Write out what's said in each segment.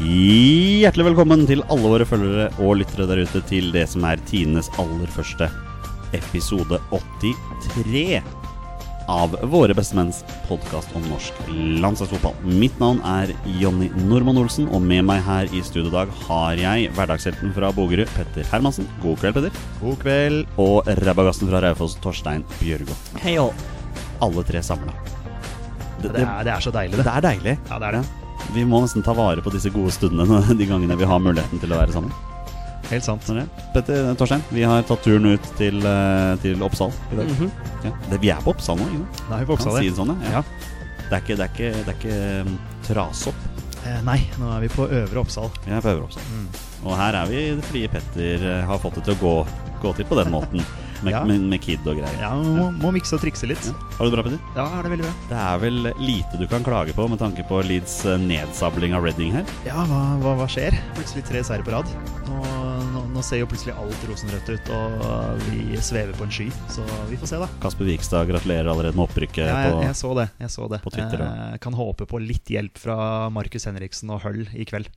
Hjertelig velkommen til alle våre følgere og lyttere der ute til det som er tidenes aller første episode 83 av Våre bestemenns podkast om norsk landslagsfotball. Mitt navn er Jonny Normann Olsen, og med meg her i studio i dag har jeg hverdagshelten fra Bogerud, Petter Hermansen. God kveld, Petter. God kveld. Og rabagassen fra Raufoss, Torstein Bjørgo. Hei og Alle tre samla. Det, er, det er så deilig, det. det er deilig. Ja, det er det. Vi må nesten ta vare på disse gode stundene de gangene vi har muligheten til å være sammen. Helt sant. Sånn er det. Petter Torstein, vi har tatt turen ut til, eh, til Oppsal i dag. ja. det, vi er på Oppsal nå, ikke sant? Da har vi Kan voksa si det. det sånn, ja. Mhm. Ja. Det er ikke, det er ikke, det er ikke um, Trasopp. Eh, Nei, nå er vi på Øvre Oppsal. Vi er på Øvre Oppsal. Mm. Og her er vi fordi Petter eh, har fått det til å gå, gå til på den måten. Med, Ja. med, med kid og greier. Ja, må, må mikse og trikse litt. Ja. Har du det bra, Petter? Ja, er det veldig bra. Det er vel lite du kan klage på med tanke på Leeds eh, nedsabling av Reading her. Ja, hva, hva, hva skjer? Plutselig tre seire på rad. Nå, nå, nå ser jo plutselig alt rosenrødt ut, og vi svever på en sky. Så vi får se, da. Kasper Vikstad gratulerer allerede med opprykket. Ja, jeg, på, jeg så det. jeg så det på Twitter, ja. eh, Kan håpe på litt hjelp fra Markus Henriksen og Hull i kveld.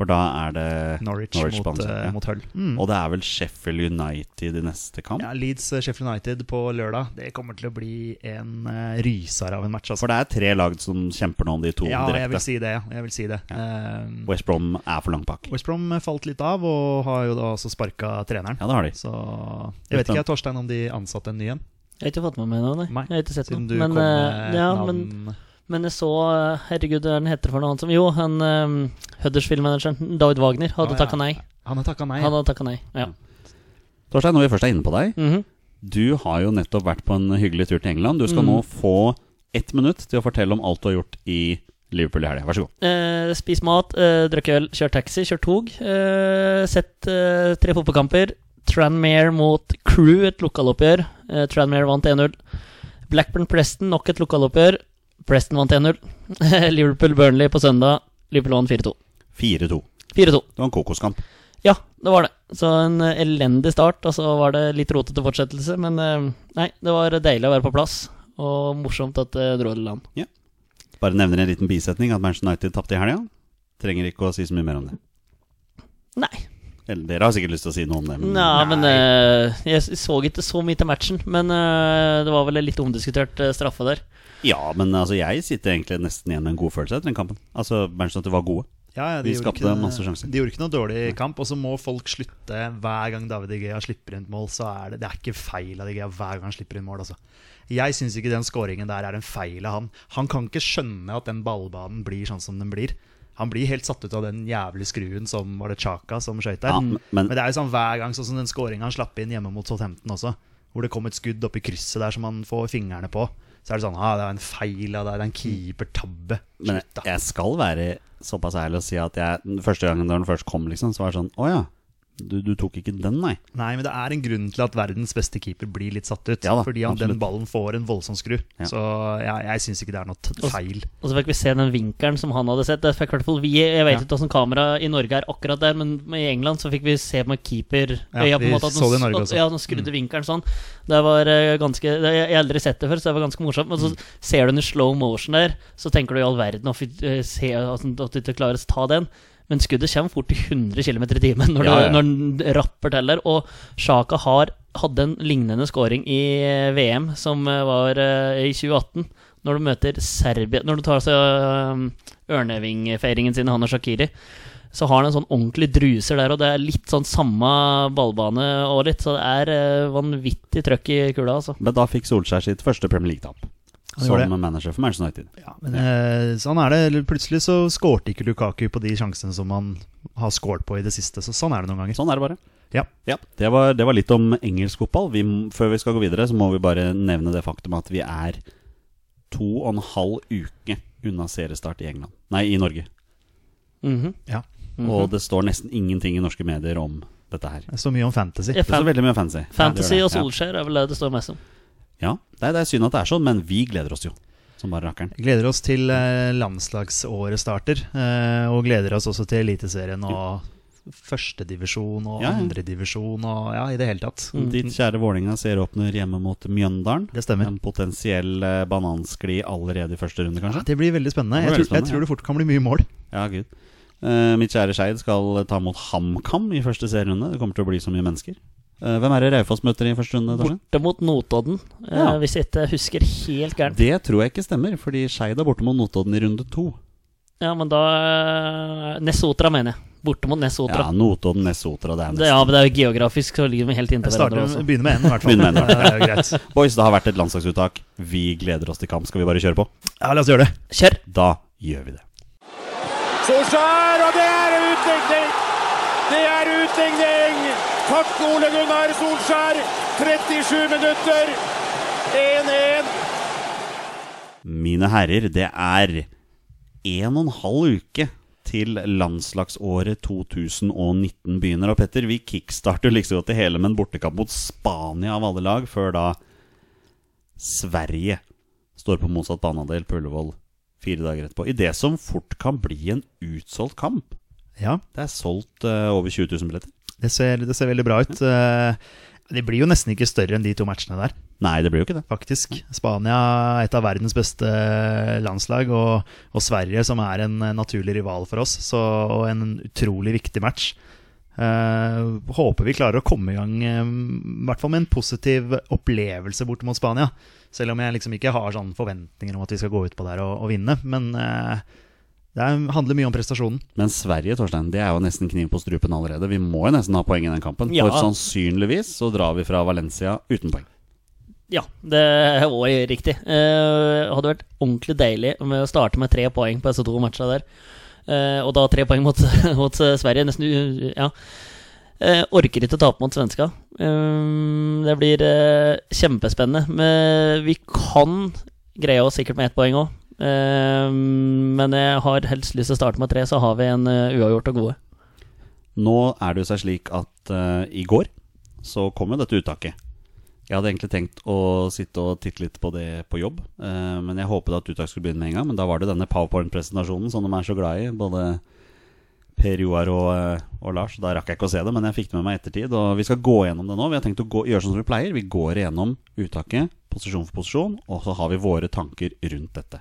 For da er det Norwich, Norwich mot, Swansea, eh, ja. mot Hull. Mm. Og det er vel Sheffield United i neste kamp? Ja, Leeds eh, Sheffield United på lørdag. Det kommer til å bli en eh, ryser av en match. Altså. For det er tre lag som kjemper nå om de to Ja, jeg direkte. vil si det. ja. Jeg vil si det. Ehm, West Brom er for langt bak. West Brom falt litt av, og har jo da også sparka treneren. Ja, det har de. Så jeg vet Utan- ikke, Torstein, om de ansatte en ny en? Jeg har ikke fått med meg noe, nei. Nei, Jeg har ikke sett Siden du noe. Men, kom eh, med ja, navn men, men jeg så eh, Herregud, hva er den heter for noe? Han som, jo, han um, Huddersfield-manageren, David Wagner, hadde Ja, ja. takka nei. Han har takka nei. Han hadde takka nei, ja. Torstein, når vi først er inne på deg, Mm. Mhm. du har jo nettopp vært på en hyggelig tur til England. Du skal Mm. nå få ett minutt til å fortelle om alt du har gjort i Liverpool i helga. Vær så god. Eh, spist mat, eh, drukket øl, kjørt taxi, kjørt tog. Eh, sett eh, tre fotballkamper. Tranmere mot Crew, et lokaloppgjør. Eh, Tranmere vant 1-0. Blackburn-Preston, nok et lokaloppgjør. Preston vant 1-0. Liverpool-Burnley på søndag. Liverpool vant 4-2. 4-2. 4-2. Det var en kokoskamp. Ja, det var det. Så en eh, elendig start, og så var det litt rotete fortsettelse. Men eh, nei, det var deilig å være på plass, og morsomt at det dro i land. Bare nevner en liten bisetning at Manchester United tapte i helga. Trenger ikke å si så mye mer om det. Nei. Eller, dere har sikkert lyst til å si noe om det. Men Nei, men eh, jeg s- så ikke så mye til matchen. Men eh, det var vel en litt omdiskutert eh, straffe der. Ja, men altså, jeg sitter egentlig nesten igjen med en god følelse etter den kampen. Altså, Manchester United var gode. Ja, ja, Vi gjorde skapte ikke- masse sjanser. De gjorde ikke noe dårlig kamp. Og så må folk slutte hver gang David Egea slipper inn et mål. Så er det, det er ikke feil av Egea hver gang han slipper inn mål. Altså. Jeg syns ikke den scoringen der er en feil av han. Han kan ikke skjønne at den ballbanen blir sånn som den blir. Han blir helt satt ut av den jævlig skruen som var det Chaka som skøyt der. Ja, men- men, men- det er jo sånn hver gang, sånn som den scoringen han slapp inn hjemme mot Southampton også, hvor det kom et skudd oppi krysset der som han får fingrene på. Så er det sånn ah, Det er en feil av deg, det er en keepertabbe. Men Slutt, da. jeg, jeg skal være såpass ærlig og si at jeg, den første gangen da den først kom, liksom, så var det sånn Å ja, du, du tok ikke den, nei. Nei, men det er en grunn til at verdens beste keeper blir litt satt ut. Ja da, fordi han, den absolutt. ballen får en voldsom skru. Ja. Så jeg, jeg syns ikke det er noe t- Og- feil. Og så fikk vi se den vinkelen som han hadde sett. Det fikk i hvert fall vi, Jeg vet Ja. ikke åssen kamera i Norge er akkurat der, men i England så fikk vi se med keeperøya. Ja, på en vi måte, at den så det i Norge at- også. Mm. Ja, den skrudde vinkelen sånn. Det var eh, ganske det, Jeg har aldri sett det før, så det var ganske morsomt. Men så ser du den i slow motion der, så tenker du i all verden å fy- eh, se at den- at du ikke klarer å ta den. Men skuddet kommer fort i 100 km i timen når, Ja, ja. du- når den rapper til der. Og Sjaka har, hadde en lignende scoring i eh, VM, som eh, var eh, i 2018. Når du møter Serbia Når du tar altså eh, ørnevingfeiringen sin, han og Shakiri, så har han en sånn ordentlig druser der, og det er litt sånn samme ballbane og litt, så det er eh, vanvittig trøkk i kula, altså. Men da fikk Solskjær sitt første Premier League-tap Han gjorde som manager for Manchester United. Ja, men eh, sånn er det. Eller Plutselig så skårte ikke Lukaku på de sjansene som han har skåret på i det siste. Så sånn er det noen ganger. Sånn er det bare. Ja. Det, var, det var litt om engelsk fotball. Vi, m- før vi skal gå videre, så må vi bare nevne det faktum at vi er to og en halv uke unna seriestart i England. Nei, i Norge. Mhm. Ja. Mhm. Og det står nesten ingenting i norske medier om dette her. Så mye om fantasy. Ja, Det står fan veldig mye om fantasy. fantasy Ja, det gjør og det. Solskjær er vel det det står mest om. Ja. ja. Nei, det er synd at det er sånn, men vi gleder oss jo som bare rakkeren. Vi Gleder oss til eh, landslagsåret starter, eh, og gleder oss også til Eliteserien og førstedivisjon og Ja, ja. andredivisjon og ja, i det hele tatt. Ditt kjære Vålinga serieåpner hjemme mot Mjøndalen. Det stemmer. En potensiell eh, bananskli allerede i første runde, Ja, kanskje? det blir veldig spennende. Det blir Jeg veldig tror, jeg spennende, tror det fort kan bli mye mål. Ja, gud. Eh, mitt kjære Skeid skal eh, ta mot HamKam i første serierunde. Det kommer til å bli så mye mennesker. Eh, hvem er det Raufoss møter i første runde? Torstein? Borte mot Notodden, eh, Ja. hvis jeg ikke husker helt gærent. Det tror jeg ikke stemmer, fordi Skeid er borte mot Notodden i runde to. Ja, men da eh, Nesotra, mener jeg. Borte mot Nesotra. Ja, Notodden, Nesotra, det er Det, nesten ja, men det er jo geografisk, så ligger vi helt inntil Jeg hverandre starter, også. begynner med en, i hvert fall. Begynner med Det er jo greit. Boys, det har vært et landslagsuttak. Vi gleder oss til kamp. Skal vi bare kjøre på? Ja, la oss gjøre det. Kjør! Da gjør vi det. Solskjær, og det er utligning! Det er utligning! Takk, Ole Gunnar Solskjær. 37 minutter. 1-1. Mine herrer, det er en og en halv uke til landslagsåret 2019 begynner. Og Petter, vi kickstarter like så godt det hele med en bortekamp mot Spania av alle lag, før da Sverige står på motsatt banehalvdel på Ullevål fire dager etterpå. I det som fort kan bli en utsolgt kamp. Ja, Det er solgt eh, over 20 000 billetter. det ser, det ser veldig bra ut. Eh, Det blir jo nesten ikke større enn de to matchene der, Nei, det blir jo ikke det. faktisk. Spania, et av verdens beste eh, landslag, og, og Sverige, som er en eh, naturlig rival for oss, så, og en utrolig viktig match. Eh, håper vi klarer å komme i gang, eh, i hvert fall med en positiv opplevelse borte mot Spania. Selv om jeg liksom ikke har sånne forventninger om at vi skal gå ut på der og, og vinne. Men eh, det er, handler mye om prestasjonen. Men Sverige Torstein, det er jo nesten kniv på strupen allerede. Vi må jo nesten ha poeng i den kampen. Ja. For sannsynligvis så drar vi fra Valencia uten poeng. Ja, det var jo riktig. Eh, Det hadde vært ordentlig deilig med å starte med tre poeng på disse to matchene der. Eh, og da tre poeng mot, mot Sverige. Nesten u- Ja. Eh, orker ikke å tape mot svenska. Eh, det blir eh, kjempespennende. Men vi kan greie oss sikkert med ett poeng òg. men jeg har helst lyst til å starte med tre, så har vi en eh, uavgjort og gode. Nå er det jo seg slik at eh, i går så kom jo dette uttaket. Jeg hadde egentlig tenkt å sitte og titte litt på det på jobb, eh, men jeg håpet at uttaket skulle begynne med en gang. Men da var det denne powerpoint-presentasjonen som de er så glad i, både Per Joar og, eh, og Lars. Da rakk jeg ikke å se det, men jeg fikk det med meg i ettertid. Og vi skal gå gjennom det nå. Vi har tenkt å gå, gjøre sånn som vi pleier. Vi går gjennom uttaket, posisjon for posisjon, og så har vi våre tanker rundt dette.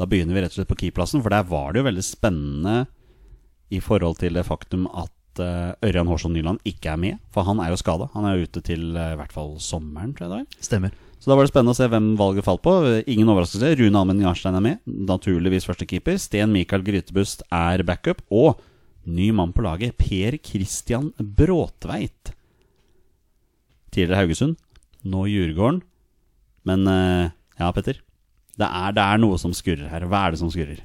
Da begynner vi rett og slett på keyplassen, for der var det jo veldig spennende i forhold til det faktum at eh, Ørjan Hårsson Nyland ikke er med. For han er jo skada. Han er jo ute til eh, i hvert fall sommeren, tror jeg det er. Stemmer. Så da var det spennende å se hvem valget falt på. Eh, Ingen overraskelse. Rune Almen Jarstein er med. Naturligvis førstekeeper. Sten Mikael Grytebust er backup. Og ny mann på laget, Per Christian Bråtveit. Tidligere Haugesund, nå Djurgården. Men eh, ja, Petter. Det er, det er noe som skurrer her. Hva er det som skurrer?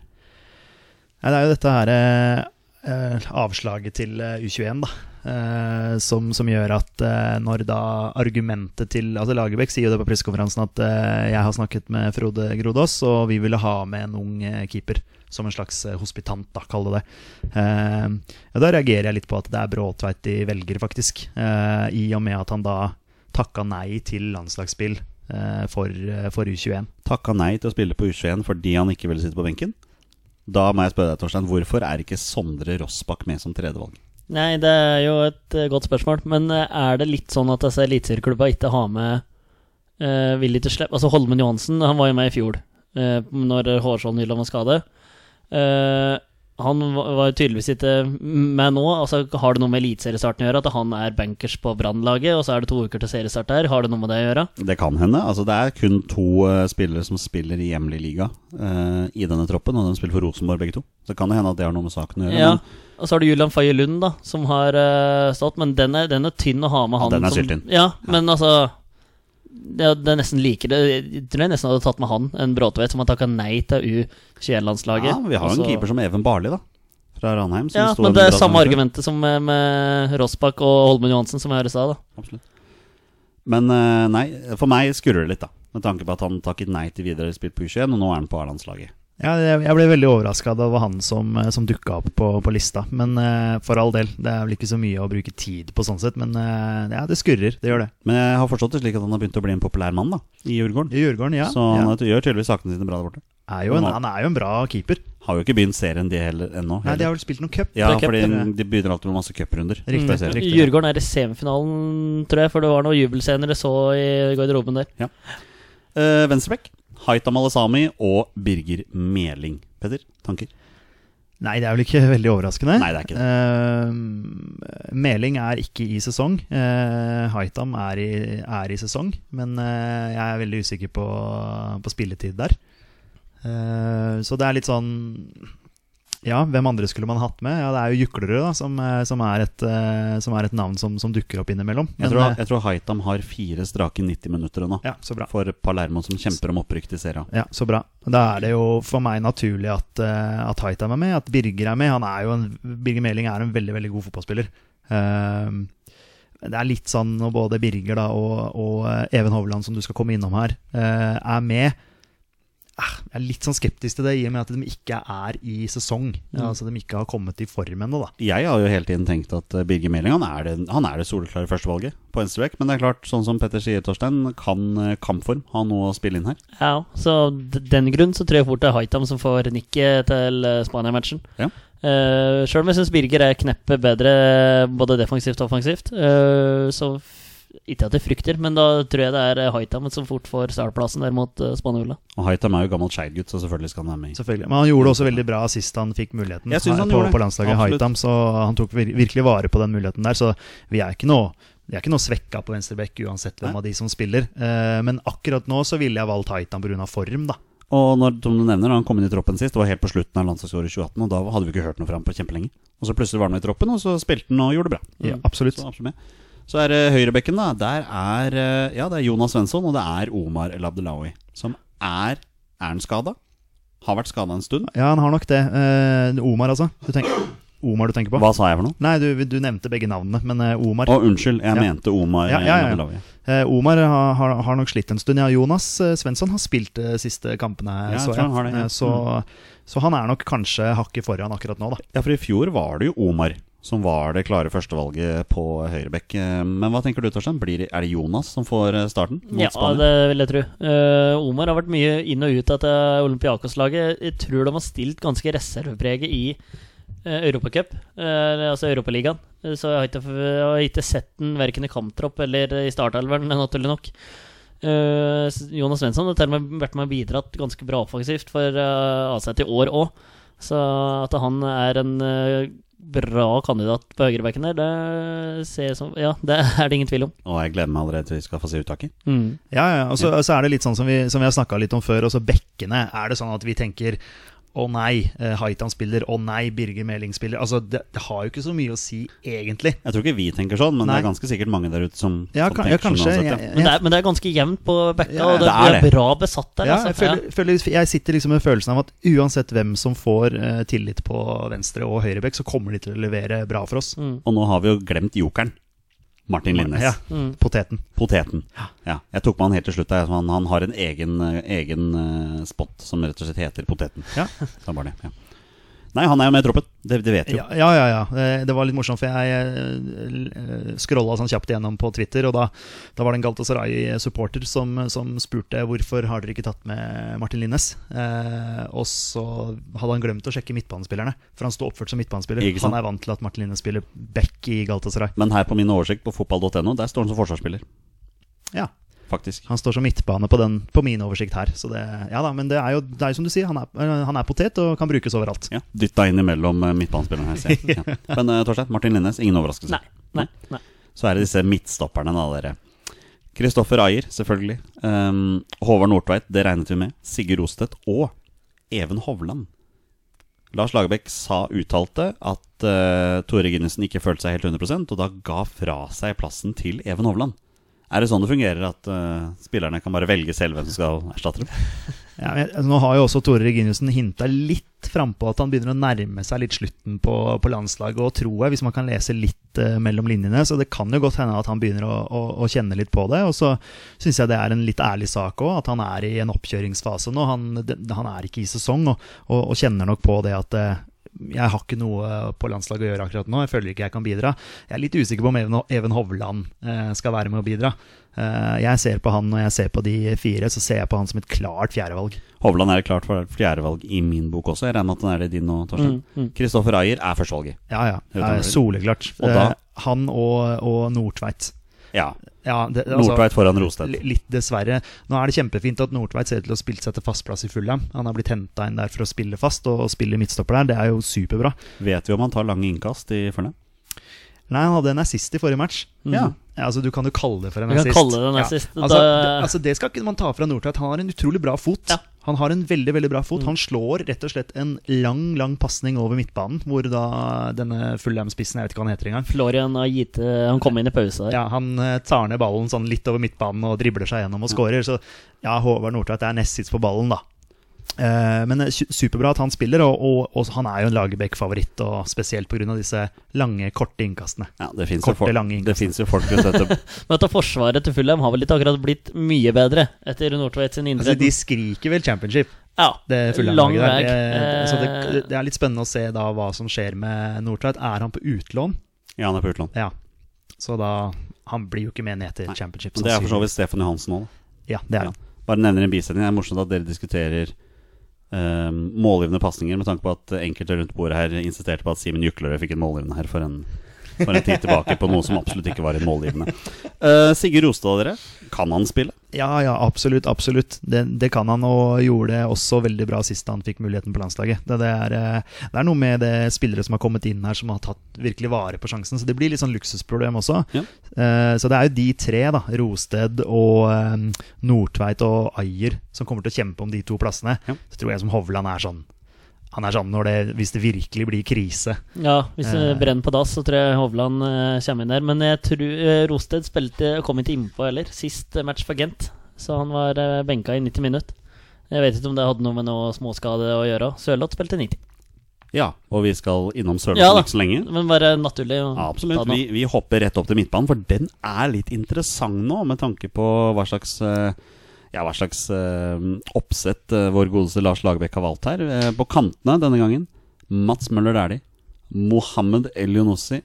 Nei, det er jo dette her eh, eh, avslaget til eh, U21, da. eh, som, som gjør at eh, når da argumentet til Altså Lagerbäck sier jo det på pressekonferansen at eh, jeg har snakket med Frode Grodås, og vi ville ha med en ung eh, keeper. Som en slags eh, hospitant, da, kall det det. Eh, ja, da reagerer jeg litt på at det er Bråtveit de velger, faktisk. eh, I og med at han da takka nei til landslagsspill eh, for, eh, for U21. takka nei til å spille på U21 fordi han ikke ville sitte på benken? Da må jeg spørre deg, Torstein, hvorfor er ikke Sondre Rossbakk med som tredjevalg? Nei, det er jo et eh, godt spørsmål. Men eh, er det litt sånn at disse eliteserieklubba ikke har med uh, Vil ikke slippe Altså Holmen Johansen, han var jo med i fjor, uh, når Hårsholm Nyland var skade. Eh, han va- var jo tydeligvis ikke med nå. Altså Har det noe med eliteseriestarten å gjøre? At han er bankers på Brannlaget, og så er det to uker til seriestart der? Har det noe med det å gjøre? Det kan hende. altså Det er kun to eh, spillere som spiller i hjemlig liga eh, i denne troppen, og de spiller for Rosenborg begge to. Så det kan det hende at det har noe med saken å gjøre. Ja. Men Og så har du Julian Faye Lund, da, som har eh, stått, men den er, den er tynn å ha med Ja, han. den er som- syltynn. Ja, men altså det, er- det er nesten likere. Jeg tror jeg nesten hadde tatt med han enn Bråtvedt, som har takka nei til U21-landslaget. ja, vi har jo en keeper som Even Barli, da. Fra Ranheim. som Altså- ja, sto men under det er Rasmus samme Høyer. argumentet som med, med Rossbakk og Holmen Johansen, som jeg hørte i stad. da. Absolutt. Men eh, nei, for meg skurrer det litt, da. Med tanke på at han takket nei til videre spill på U21, og nå er han på A-landslaget. Ja, jeg jeg ble veldig overraska da det var han som, eh, som dukka opp på, på lista. Men eh, for all del, det er vel ikke så mye å bruke tid på sånn sett. Men eh, ja, det skurrer. Det gjør det. Men jeg har forstått det slik at han har begynt å bli en populær mann da, i Djurgården. I Djurgården, ja. Så han ja. er- gjør tydeligvis sakene sine bra der borte. Er jo en, han er jo en bra keeper. Har jo ikke begynt serien de heller ennå. Nei, de heller. har vel spilt noen cup? ja, Mm. det er fordi cup, det. de begynner alltid med masse cuprunder. Riktig, Før serien. riktig. Mm. Djurgården er i semifinalen, tror jeg, for det var noen jubelscener jeg så i garderoben der. Eh, Venstrebekk, Haita Malasami og Birger Meling. Petter, tanker? Nei, det er vel ikke veldig overraskende. Nei, det er ikke Eh, Meling er ikke i sesong. Eh, Haitam er i, er i sesong, men eh, jeg er veldig usikker på, på spilletid der. Eh, så det er litt sånn Ja, hvem andre skulle man hatt med? Ja, Det er jo Juklerud, da, som, eh, som, er et, eh, som er et navn som, som dukker opp innimellom. Jeg Men, tror, eh, jeg tror Haitam har fire strake 90 minutter nå. ja, så bra. For Palermo som kjemper om opprykk til serien. Ja, så bra. Da er det jo for meg naturlig at, eh, at Haitam er med, at Birger er med. Han er jo en, Birger Meling er en veldig, veldig god fotballspiller. Ehm, det er litt sånn når både Birger da, og, og eh, Even Hovland, som du skal komme innom her, eh, er med. Ah, Jeg er litt sånn skeptisk til det, i og med at de ikke er i sesong. Mm. Altså De ikke har kommet i form ennå, da. Jeg har jo hele tiden tenkt at eh, Birger Meling han er det, han er det soleklare førstevalget på venstreback. Men det er klart, sånn som Petter sier, Torstein, kan eh, kampform ha noe å spille inn her? Ja, så d- den grunn så tror jeg fort det er Haitam som får nikket til eh, Spania-matchen. Ja. Eh, Sjøl om jeg syns Birger er kneppet bedre både defensivt og offensivt, eh, så f- ikke at jeg frykter, men da tror jeg det er eh, Haitam som fort får startplassen der mot eh, Spania-Ulla. Og Haitam er jo gammel Skeid-gutt, så selvfølgelig skal han være med. i- Selvfølgelig. Men han gjorde det også veldig bra sist han fikk muligheten Jeg synes her han på, gjorde det. på landslaget Absolutt. Haitam, så han tok vir virkelig vare på den muligheten der. Så vi er ikke noe det er ikke noe svekka på venstreback uansett hvem Nei. av de som spiller. Eh, men akkurat nå så ville jeg valgt Haitam pga. form, da. Og når som du nevner, han kom inn i troppen sist, det var helt på slutten av landslagsåret 2018, og da hadde vi ikke hørt noe fra ham på kjempelenge. Og så plutselig var han med i troppen, og så spilte han og gjorde det bra. Ja, Mm. absolutt. Så, absolutt med. så er det høyrebekken, da. Der er, eh, ja, det er Jonas Svensson, og det er Omar El Abdelawi. Som er Er han skada? Har vært skada en stund. Ja, han har nok det. Eh, Omar, altså. Du tenker, Omar du tenker på? Hva sa jeg for noe? Nei, du, du nevnte begge navnene, men eh, Omar Å, unnskyld, jeg Ja. mente Omar Ja, ja, ja, ja. El Abdelawi. eh, Omar har, har, har nok slitt en stund. Ja, Jonas eh, Svensson har spilt de siste kampene, jeg så, tror han har det, ja. Mm. Eh, så, så han er nok kanskje hakket foran akkurat nå, da. Ja, for i fjor var det jo Omar som var det klare førstevalget på høyrebekk. Eh, Men hva tenker du, Torstein? Blir det, er det Jonas som får eh, starten mot Ja, Spania? det vil jeg tro. Eh, Omar har vært mye inn og ut av dette Olympiakos-laget. Jeg tror de har stilt ganske reservepreget i uh, Europacup, eh, altså Europaligaen. Eh, Så jeg har ikke, jeg har ikke sett den verken i kamptropp eller i startelveren, naturlig nok. Eh, s- Jonas Svensson har til og med vært med og bidratt ganske bra offensivt for uh, AZ i år òg. Så at han er en eh, bra kandidat på høyrebacken der, det ser jeg som Ja, det er det ingen tvil om. Og jeg gleder meg allerede til vi skal få se uttaket. Mm. Ja, ja, og så, og så er det litt sånn som vi, som vi har snakka litt om før, også bekkene. Er det sånn at vi tenker å nei, eh, Haitan spiller, å nei, Birger Meling spiller. Altså, det, det har jo ikke så mye å si, egentlig. Jeg tror ikke vi tenker sånn, men Nei. det er ganske sikkert mange der ute som, Ja, som kan, ja tenker kanskje. sånn. Jeg, uansett, ja. Men det, jeg, er, men det er ganske jevnt på bekka, Ja, og det, det er det er det. bra besatt der. ja, altså. jeg, føler, føler, jeg sitter liksom med følelsen av at uansett hvem som får eh, tillit på venstre og høyrebekk, så kommer de til å levere bra for oss. ja. Mm, Og nå har vi jo glemt jokeren. Martin Linnes. Ja, mm. poteten. Poteten. Ja, jeg tok med han helt til slutt. der, så Han, han har en egen, eh, egen eh, spot som rett og slett heter Poteten. Ja. Så var det, ja. Nei, han er jo med i troppen. Det, det vet vi jo. Ja, ja, ja. ja. Eh, Det var litt morsomt, for eh, jeg scrolla sånn kjapt igjennom på Twitter, og da, da var det en Galtasaray-supporter som, som spurte hvorfor har dere ikke tatt med Martin Linnes. Eh, og så hadde han glemt å sjekke midtbanespillerne, for han sto oppført som midtbanespiller. Ikke sant? Han er vant til at Martin Linnes spiller back i Galtasaray. Men her på min oversikt på fotball.no, der står han som forsvarsspiller, Ja, faktisk. han står som midtbane på, den, på min oversikt her. Så det, ja da, men det er jo det er jo som du sier, han er, eh, han er potet og kan brukes overalt. Ja, Dytta inn imellom eh, midtbanespilleren her, ser jeg. Ja. Men eh, Torstein, Martin Linnes, ingen overraskelse. Nei, nei, nei. Så er det disse midtstopperne, da, dere. Kristoffer Ayer, selvfølgelig. Um, Håvard Nordtveit, det regnet vi med. Sigurd Rostedt og Even Hovland. Lars Lagerbäck sa uttalte at eh, Tore Ginnesen ikke følte seg helt 100 og da ga fra seg plassen til Even Hovland. Er det sånn det fungerer, at eh, spillerne kan bare velge selv hvem som skal erstatte dem? Ja, men, altså, nå har jo også Tore Reginiussen hinta litt frampå at han begynner å nærme seg litt slutten på, på landslaget, og tror jeg, hvis man kan lese litt eh, mellom linjene, så det kan jo godt hende at han begynner å, å, å kjenne litt på det. Og så syns jeg det er en litt ærlig sak òg, at han er i en oppkjøringsfase nå. Han, det- han er ikke i sesong, og, og, og kjenner nok på det at eh, jeg har ikke noe på landslaget å gjøre akkurat nå. Jeg føler ikke jeg kan bidra. Jeg er litt usikker på om Even, Even Hovland eh, skal være med å bidra. Eh, jeg ser på han, når jeg ser på de fire, så ser jeg på han som et klart fjerdevalg. Hovland er klart for fjerdevalg i min bok også. Jeg regner med at han er det i din nå, Torstein. Mm, mm. Kristoffer Ayer er førstevalget. Ja, ja. Helt enig. Eh, soleklart. Og da- Eh, han og, og Nordtveit. Ja. Ja, det, altså, Nordtveit foran Rosted. li- Litt dessverre. Nå er det kjempefint at Nordtveit ser ut til å ha spilt seg til fast plass i Fulham. Han har blitt henta inn der for å spille fast, og, og spille midtstopper der. Det er jo superbra. Vet vi om han tar lange innkast i Førne? Nei, han hadde en assist i forrige match. Ja. Ja, altså Du kan jo kalle det for en Vi Mm. kan assist. kalle det en assist. Ja. Altså, Da- det, altså, det skal ikke man ta fra Nordtveit. Han har en utrolig bra fot. Ja. Mm. Han har en veldig veldig bra fot. Han slår rett og slett en lang lang pasning over midtbanen, hvor da denne Fulham-spissen, jeg vet ikke hva han heter engang Florian har gitt eh, Han kom inn i pause der. ja, Han eh, tar ned ballen sånn litt over midtbanen og dribler seg gjennom og skårer. Så ja, Håvard Nordtveit er nest sist på ballen, da. Eh, men eh, su- superbra at han spiller, og, og, og han er jo en Lagerbäck-favoritt. Og Spesielt pga. disse lange, korte innkastene. Ja, det fins jo, Korte, folk- lange innkast. det finnes jo folk som setter Men dette forsvaret til Fulham har vel ikke akkurat blitt mye bedre etter Nordtveit sin Altså, de inntreden. skriker vel championship. Ja, det lang Fulham-laget vei. der. Eh, så Eh, det, det er litt spennende å se da hva som skjer med Nordtveit. Er han på utlån? Ja, han er på utlån. Ja. Så da Han blir jo ikke med ned til Nei, championship. Men det er for så sannsynlig. vidt Stefan Johansen òg. Ja, det er han. Bare nevner en bisetning. Det er morsomt at dere diskuterer eh, målgivende pasninger, med tanke på at enkelte rundt bordet her insisterte på at Simen Juklerød fikk en målgivende her for en, for en tid tilbake, på noe som absolutt ikke var en målgivende. Eh, Sigurd Rostad, dere. Kan han spille? Ja, ja, absolutt. absolutt det, det kan han, og gjorde det også veldig bra sist han fikk muligheten på landslaget. Det, det, er, eh, det er noe med det spillere som har kommet inn her, som har tatt virkelig vare på sjansen. Så det blir litt sånn luksusproblem også. Ja. Eh, Så det er jo de tre, da, Rosted og eh, Nordtveit og Ajer, som kommer til å kjempe om de to plassene. Ja. Så tror jeg som Hovland er sånn Han er sånn når det, hvis det virkelig blir krise. ja, hvis det eh, brenner på dass, så tror jeg Hovland eh, kommer inn der. Men jeg tror eh, Rosted spilte, kom ikke innpå heller. Sist eh, match for Gent, så han var eh, benka i 90 minutter. Jeg vet ikke om det hadde noe med noe småskade å gjøre. Sørloth spilte 90. Ja. Og vi skal innom Ja Sørlandet da. ikke så lenge. Men bare naturlig. å Ja, ta absolutt. den opp. Vi, vi hopper rett opp til midtbanen, for den er litt interessant nå, med tanke på hva slags eh, ja, hva slags eh, oppsett eh, vår godeste Lars Lagerbäck har valgt her. Eh, på kantene denne gangen Mats Møller Dæhlie, Mohammed Elionossi,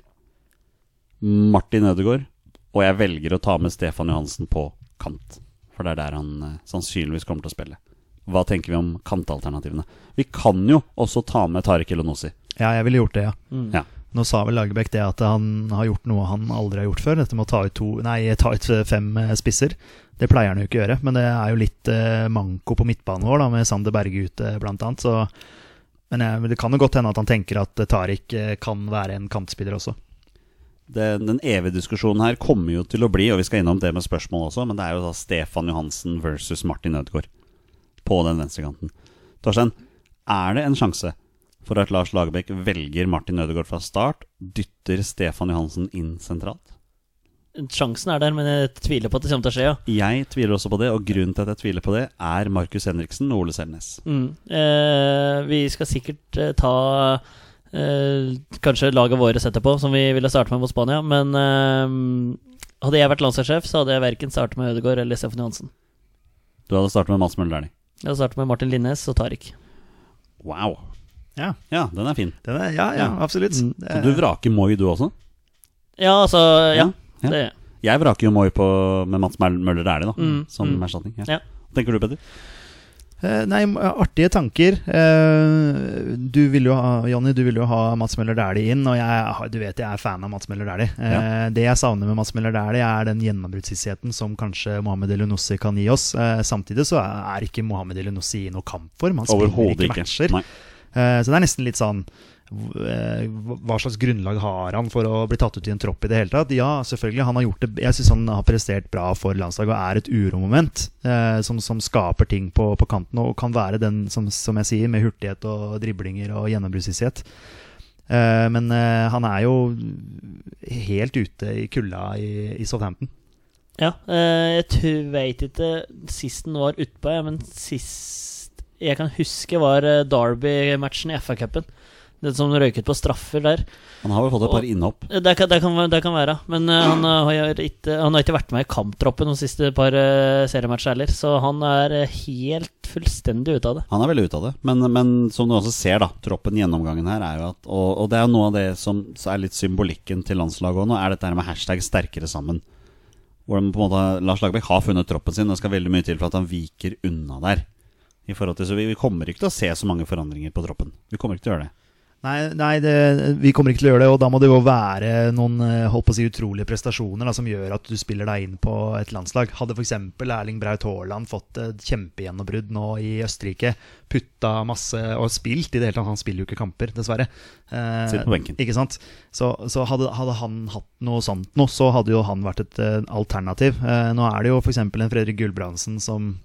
Martin Ødegaard, og jeg velger å ta med Stefan Johansen på kant. For det er der han eh, sannsynligvis kommer til å spille. Hva tenker vi om kantalternativene? Vi kan jo også ta med Tariq Elionossi. Ja, jeg ville gjort det, ja. Mm. Ja. Nå sa vel Lagerbäck det at han har gjort noe han aldri har gjort før. Dette med å ta ut, to, nei, ta ut fem eh, spisser. Det pleier han jo ikke å gjøre, men det er jo litt eh, manko på midtbanen vår, da, med Sander Berge ute, blant annet. Så, men eh, det kan jo godt hende at han tenker at eh, Tariq eh, kan være en kantspiller også. det, den evige diskusjonen her kommer jo til å bli, og vi skal innom det med spørsmål også, men det er jo da Stefan Johansen versus Martin Ødegaard på den venstrekanten. Torstein, er det en sjanse for at Lars Lagerbäck velger Martin Ødegaard fra start, dytter Stefan Johansen inn sentralt? Sjansen er der, men jeg tviler på at det kommer til å skje. Ja. Jeg tviler også på det, og grunnen til at jeg tviler på det, er Markus Henriksen og Ole Selnes. Mm. Eh, vi skal sikkert eh, ta eh, kanskje laget våre etterpå, som vi ville starte med mot Spania. Men eh, hadde jeg vært landslagssjef, så hadde jeg verken startet med Ødegaard eller Stefan Johansen. Du hadde startet med Mads Møller Dæhlie. Jeg hadde startet med Martin Linnes og Tariq. Wow. Ja, Ja, den er fin. den er, ja, ja Ja. absolutt. Mm. Det Så er- du vraker Moi, du også? Ja, altså Ja, Ja, ja. det Jeg vraker jo Moi på, med Mads Møller Dæhlie, da, Mm, som mm. erstatning. Ja. Ja. Hva Tenker du, Petter? Eh, Nei, m- artige tanker. Eh, Du vil jo ha, Jonny, du vil jo ha Mats Møller Dæhlie inn, og jeg, har- du vet jeg er fan av Mats Møller Dæhlie. Eh, Det jeg savner med Mats Møller Dæhlie, er den gjennombruddshissigheten som kanskje Mohammed Elionossi kan gi oss. Eh, Samtidig så er ikke Mohammed Elionossi i noe kampform. Han spiller Overhodet ikke ikke. matcher. Nei. Eh, Så det er nesten litt sånn hv- eh, hva slags grunnlag har han for å bli tatt ut i en tropp i det hele tatt? Ja, selvfølgelig. Han har gjort det Jeg syns han har prestert bra for landslaget og er et uromoment eh, som, som skaper ting på, på kanten og kan være den, som, som jeg sier, med hurtighet og driblinger og gjennombruddshissighet. Eh, men eh, han er jo helt ute i kulda i, i Southampton. ja. Eh, jeg tror- vet ikke sist den var utpå, ja, men sist jeg kan huske, var eh, Derby-matchen i FA-cupen. Den som røyket på straffer der. Han har vel fått et par Og- innhopp. Det Eh, kan, det, kan, det kan være, men eh, han, eh, har ikke, han har ikke vært med i kamptroppen de siste par uh, seriematcher heller, så han er eh, helt fullstendig ute av det. Han er veldig ute av det, men, men som du også ser, da, troppen i gjennomgangen her er jo at Og, og det er jo noe av det som så er litt symbolikken til landslaget òg nå, er dette her med hashtag 'sterkere sammen'. Hvor de på en måte, Lars Lagerbäck har funnet troppen sin, og det skal veldig mye til for at han viker unna der. I forhold til, så vi, vi kommer ikke til å se så mange forandringer på troppen. Vi kommer ikke til å gjøre det. Nei, nei det, vi kommer ikke til å gjøre det, og da må det jo være noen eh, holdt på å si, utrolige prestasjoner da, som gjør at du spiller deg inn på et landslag. Hadde f.eks. Erling Braut Haaland fått et kjempegjennombrudd nå i Østerrike, putta masse og spilt i det hele tatt, han spiller jo ikke kamper, dessverre. Eh, Sitter på benken. Ikke sant? Så, så hadde, hadde han hatt noe sånt nå, så hadde jo han vært et eh, alternativ. Eh, nå er det jo f.eks. en Fredrik Gulbrandsen som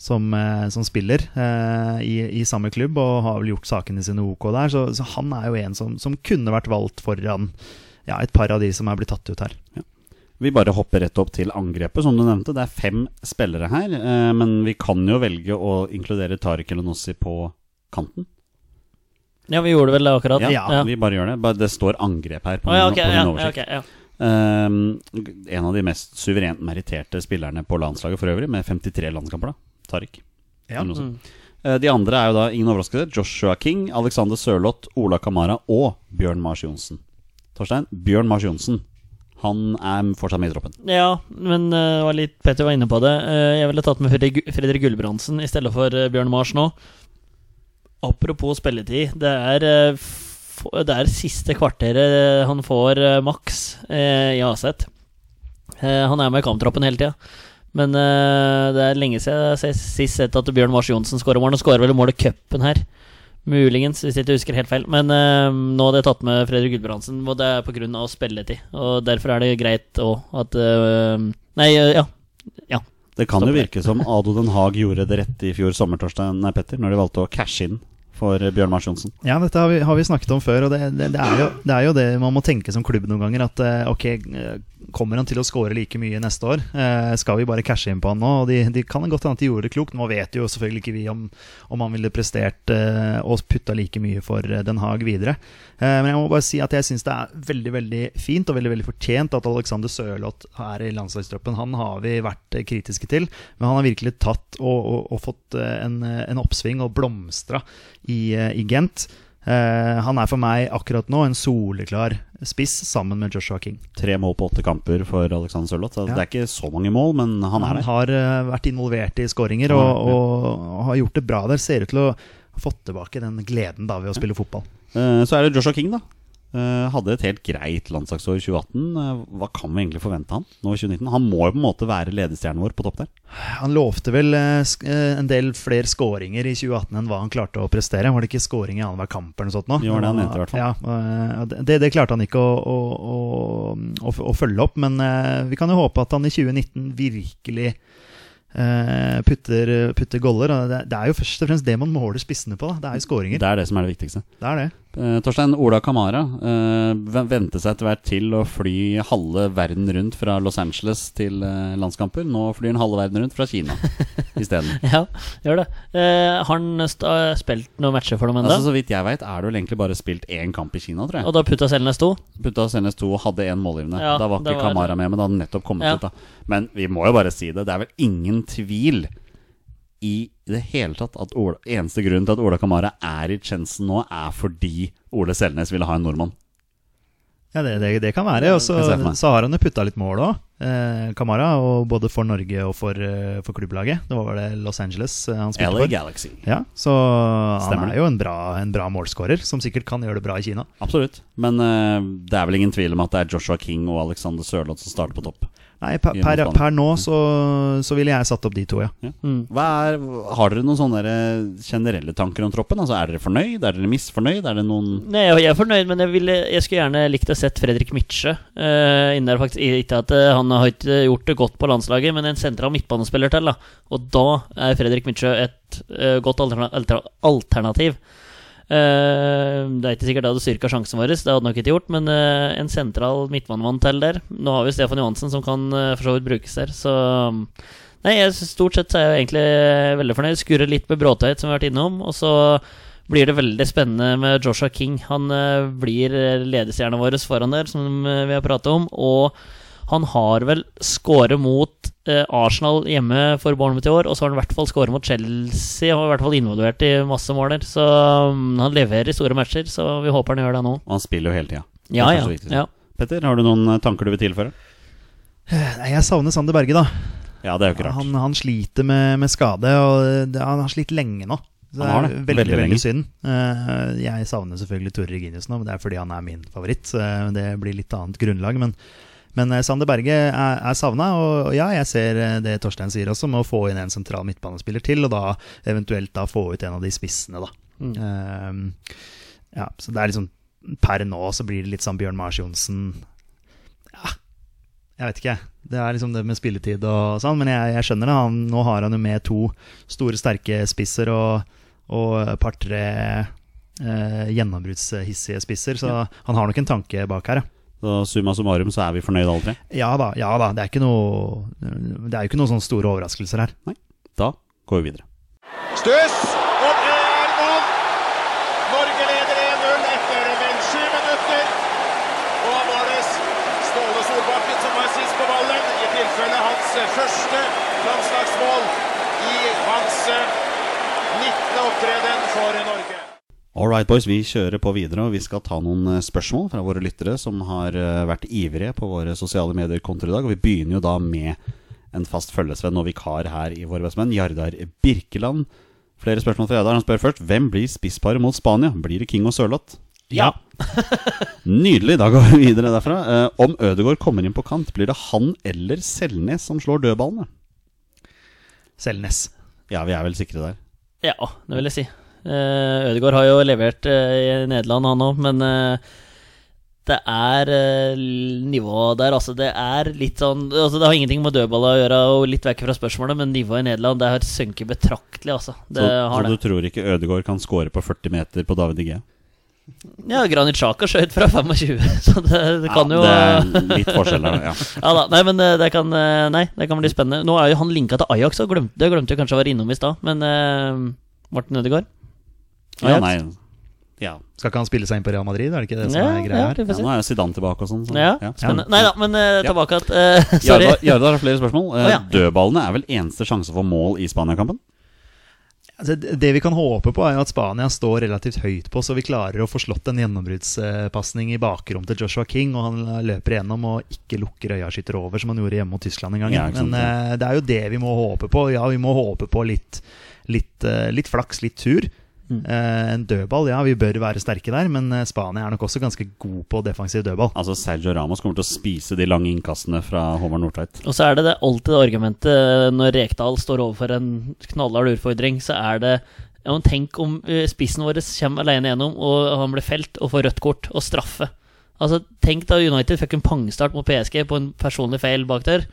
som, eh, som spiller eh, i, i samme klubb, og har vel gjort sakene sine OK der. Så, så han er jo en som, som kunne vært valgt foran ja, et par av de som er blitt tatt ut her. Vi bare hopper rett opp til angrepet, som du nevnte. Det er fem spillere her, eh, men vi kan jo velge å inkludere Tariq Elonossi på kanten. Ja, vi gjorde vel det akkurat. Ja, ja. vi bare gjør det. Bare det står angrep her på Å, ja, min, ok, på min ja, ja, oversikt. ok, ja. Ehm, en av de mest suverent meritterte spillerne på landslaget for øvrig, med 53 landskamper, da. Tariq. Ja. Eller noe sånt. Mm. Eh, De andre er jo da, ingen overraskelse, Joshua King, Alexander Sørloth, Ola Kamara og Bjørn Mars Johnsen. Torstein, Bjørn Mars Johnsen. Han er fortsatt med i troppen. Ja, men eh, det var litt, Petter var inne på det. Eh, jeg ville tatt med Fredrik, Fredrik Gulbrandsen i stedet for eh, Bjørn Mars nå. Apropos spilletid. Det er, eh, f- det er siste kvarteret eh, han får eh, maks eh, i Aset. Eh, han er med i kamptroppen hele tida. Men eh, det er lenge siden jeg har se- sist sett at Bjørn Mars Johnsen skårer mål. Han skårer vel mål i cupen her. Muligens, hvis jeg ikke husker helt feil. Men eh, nå hadde jeg tatt med Fredrik Gulbrandsen, og det er pga. spilletid. Og derfor er det greit òg at eh, Nei, eh, ja. Det kan Stopp jo der. virke som Ado Den Haag gjorde det rette i fjor sommer, Torstein nei, Petter, når de valgte å cashe inn for eh, Bjørn Mars Johnsen. Ja, dette har vi, har vi snakket om før, og det, det, det, er jo, det er jo det man må tenke som klubb noen ganger. At eh, ok, eh, kommer han til å score like mye neste år? Eh, Skal vi bare cashe inn på han nå? Og de, de kan godt hende at de gjorde det klokt. Nå vet jo selvfølgelig ikke vi om, om han ville prestert eh, og putta like mye for eh, Den Haag videre. Eh, Men jeg må bare si at jeg syns det er veldig veldig fint og veldig veldig fortjent at Alexander Sørloth er i landslagstroppen. Han har vi vært eh, kritiske til, men han har virkelig tatt og, og, og fått eh, en, en oppsving og blomstra i, eh, i Gent. Eh, han er for meg akkurat nå en soleklar spiss sammen med Joshua King. Tre mål på åtte kamper for Alexander Sørloth. så Ja. Det er ikke så mange mål, men han er Han der. har eh, vært involvert i skåringer Han og, har det, og, og har gjort det bra der. Ser ut til å ha fått tilbake den gleden da ved å spille fotball. Eh, Så er det Joshua King, da. Eh, Hadde et helt greit landslagsår i 2018. Eh, Hva kan vi egentlig forvente han nå i 2019? Han må jo på en måte være ledestjernen vår på topp der. Han lovte vel eh, sk eh, en del flere skåringer i 2018 enn hva han klarte å prestere. Var det ikke skåring i annenhver kamp eller noe sånt? nå? Jo, det han mente i hvert fall. Ja, eh, det, det klarte han ikke å, å, å, å, å følge opp, men eh, vi kan jo håpe at han i 2019 virkelig eh, putter, putter goller. og Det, det er jo først og fremst det man måler spissene på. Da. Det er jo skåringer. Det er det som er det viktigste. Det er det. Eh, Torstein Ola Kamara eh, ven- vendte seg etter hvert til å fly halve verden rundt fra Los Angeles til eh, landskamper. Nå flyr han halve verden rundt fra Kina isteden. ja, gjør det. Eh, har han st- eh, spilt noen matcher for dem ennå? Altså, så vidt jeg veit, er det vel egentlig bare spilt én kamp i Kina, tror jeg. og da putta Selnes to? Putta senest to, hadde én målgivende. Ja, da var det ikke var- Kamara med, men da hadde han nettopp kommet Ja. ut. da Men vi må jo bare si det, det er vel ingen tvil i det hele tatt at Ola, eneste grunnen til at Ola Kamara er i Chensen nå, er fordi Ole Selnes ville ha en nordmann. Ja, det, det, det kan være. Og så, Kan jeg se for meg. så har han jo putta litt mål òg, eh, Kamara. Og både for Norge og for, eh, for klubblaget. Det var vel det Los Angeles eh, han spilte LA for. Galaxy. Ja, så Stemmer han det. er jo en bra, en bra målskårer, som sikkert kan gjøre det bra i Kina. Absolutt. Men eh, det er vel ingen tvil om at det er Joshua King og Alexander Sørloth som starter på topp. Nei, per, per, per Mm. nå så, så ville jeg satt opp de to, ja. Mm. Hva er, har dere noen sånne der generelle tanker om troppen? Altså, Er dere fornøyd? Er dere misfornøyd? Er det noen Nei, jeg jeg er fornøyd, men jeg, ville, jeg skulle gjerne likt å sett Fredrik Mitsjø uh, inne der. faktisk Ikke at eh, han har ikke gjort det godt på landslaget, men en sentral midtbanespiller til. da Og da er Fredrik Mitsjø et eh, godt alterna alter- alternativ. Eh, det er ikke sikkert det hadde styrka sjansen vår, det hadde nok ikke gjort, men eh, en sentral midtbanemann til der. Nå har vi Stefan Johansen, som kan eh, for så vidt brukes der, så Nei, jeg, synes stort sett så er jeg egentlig eh, veldig fornøyd. Skurrer litt med Bråtveit, som vi har vært innom, og så blir det veldig spennende med Joshua King. Han eh, blir eh, ledestjerna vår foran der, som eh, vi har pratet om. Og han har vel skåret mot eh, Arsenal hjemme for Bournemouth i år, og så har han i hvert fall skåret mot Chelsea. Han var i hvert fall involvert i masse mål der, så mm, han leverer i store matcher. Så vi håper han gjør det nå. Og han spiller jo hele tida. Ja, Det er ja. så viktig. ja. Petter, har du noen eh, tanker du vil tilføre? Nei, jeg savner Sander Berge, da. Ja, det er jo ikke rart. Han, han sliter med, med skade, og det, han har slitt lenge nå. Så Han har det er det. veldig, Veldig veldig, lenge. synd. Eh, jeg savner selvfølgelig Tore Reginius nå, men det er fordi han er min favoritt. Eh, det blir litt annet grunnlag, men, men eh, Sander Berge er, er savna. Og, og ja, jeg ser eh, det Torstein sier også, med å få inn en sentral midtbanespiller til, og da eventuelt da få ut en av de spissene, da. Mm. Eh, ja, så det er liksom Per nå så blir det litt sånn Bjørn Mars Johnsen jeg vet ikke. Det er liksom det med spilletid og sånn, men jeg, jeg skjønner det. Han, nå har han jo med to store, sterke spisser og, og et par-tre eh, gjennombruddshissige spisser, så han har nok en tanke bak her, ja. Så summa summarum så er vi fornøyd alle tre. Ja da, ja da. Det er, ikke noe, det er jo ikke noen sånne store overraskelser her. Da går vi videre. Stuss! Og det er mål! Norge leder 1-0 etter vel sju minutter. Og da var det Ståle Solbakken som var sist på ballen, i tilfelle hans eh, første landslagsmål i hans eh, 19. opptreden for Norge. All right, boys, vi kjører på videre, og vi skal ta noen eh, spørsmål fra våre lyttere som har eh, vært ivrige på våre sosiale medier-kontoer i dag. Og vi begynner jo da med en fast følgesvenn og vikar her i Våre bestemenn, Jardar Birkeland. Flere spørsmål fra Jardar. Han spør først hvem blir spissparet mot Spania? Blir det King og Sørloth? Ja. Nydelig, da går vi videre derfra. Eh, om Ødegaard kommer inn på kant, blir det han eller Selnes som slår dødballene? Selnes. Ja, vi er vel sikre der. Ja, det vil jeg si. Uh, Ødegaard har jo levert eh, i Nederland, han òg, men eh, det er uh, nivået der, altså. Det er litt sånn altså, Det har ingenting med dødball å gjøre, og litt vekk fra spørsmålet, men nivået i Nederland det har sunket betraktelig, altså. Det Så, har så det. du tror ikke Ødegaard kan score på 40 meter på David Igea? Ja, Granit Xhaka skjøt fra 25, så det, det kan jo Ja, det er litt forskjell der, ja. Ja da, nei, men eh, det kan, eh, nei, det kan bli spennende. Nå er jo han linka til Ajax, og glemte, det glemte jeg kanskje å være innom i stad. Men eh, Martin Ødegaard? Ja, Ajax? nei. Ja. Skal ikke han spille seg inn på Real Madrid, er det ikke det som Ja, er greia ja, her? vi får ja, se. nå er jo Zidane tilbake og sånn. Så. Ja, spennende. Nei da, men eh, Ja. tilbake at eh, Sorry. Jardar Jardar har flere spørsmål. Eh, Å, ja. Dødballene er vel eneste sjanse for mål i Spania-kampen? Altså, det det vi kan håpe på, er jo at Spania står relativt høyt på, så vi klarer å få slått en gjennombruddspasning i bakrom til Joshua King, og han løper igjennom og ikke lukker øya skytter over, som han gjorde hjemme mot Tyskland en gang. Ja, ikke sant, Men eh, det er jo det vi må håpe på. Ja, vi må håpe på litt, litt, eh, litt flaks, litt tur. Mm. Eh, en dødball, ja, vi bør være sterke der, men eh, Spania er nok også ganske god på defensiv dødball. Altså, Sergio Ramos kommer til å spise de lange innkastene fra Håvard Nordtveit. Og så er det det alltid det argumentet eh, når Rekdal står overfor en knallhard utfordring, så er det ja, men Tenk om eh, spissen vår kommer alene gjennom, og han blir felt og får rødt kort og straffe. Altså, Tenk da United fikk en pangstart mot PSG på en personlig feil bak der.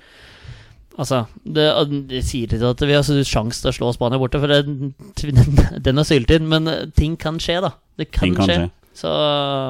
Altså, det, det sier ikke at vi har så sjanse til å slå Spania borte, for den, den, den er syltynn, men eh, ting kan skje, da. Det kan, Ting kan skje. skje. Så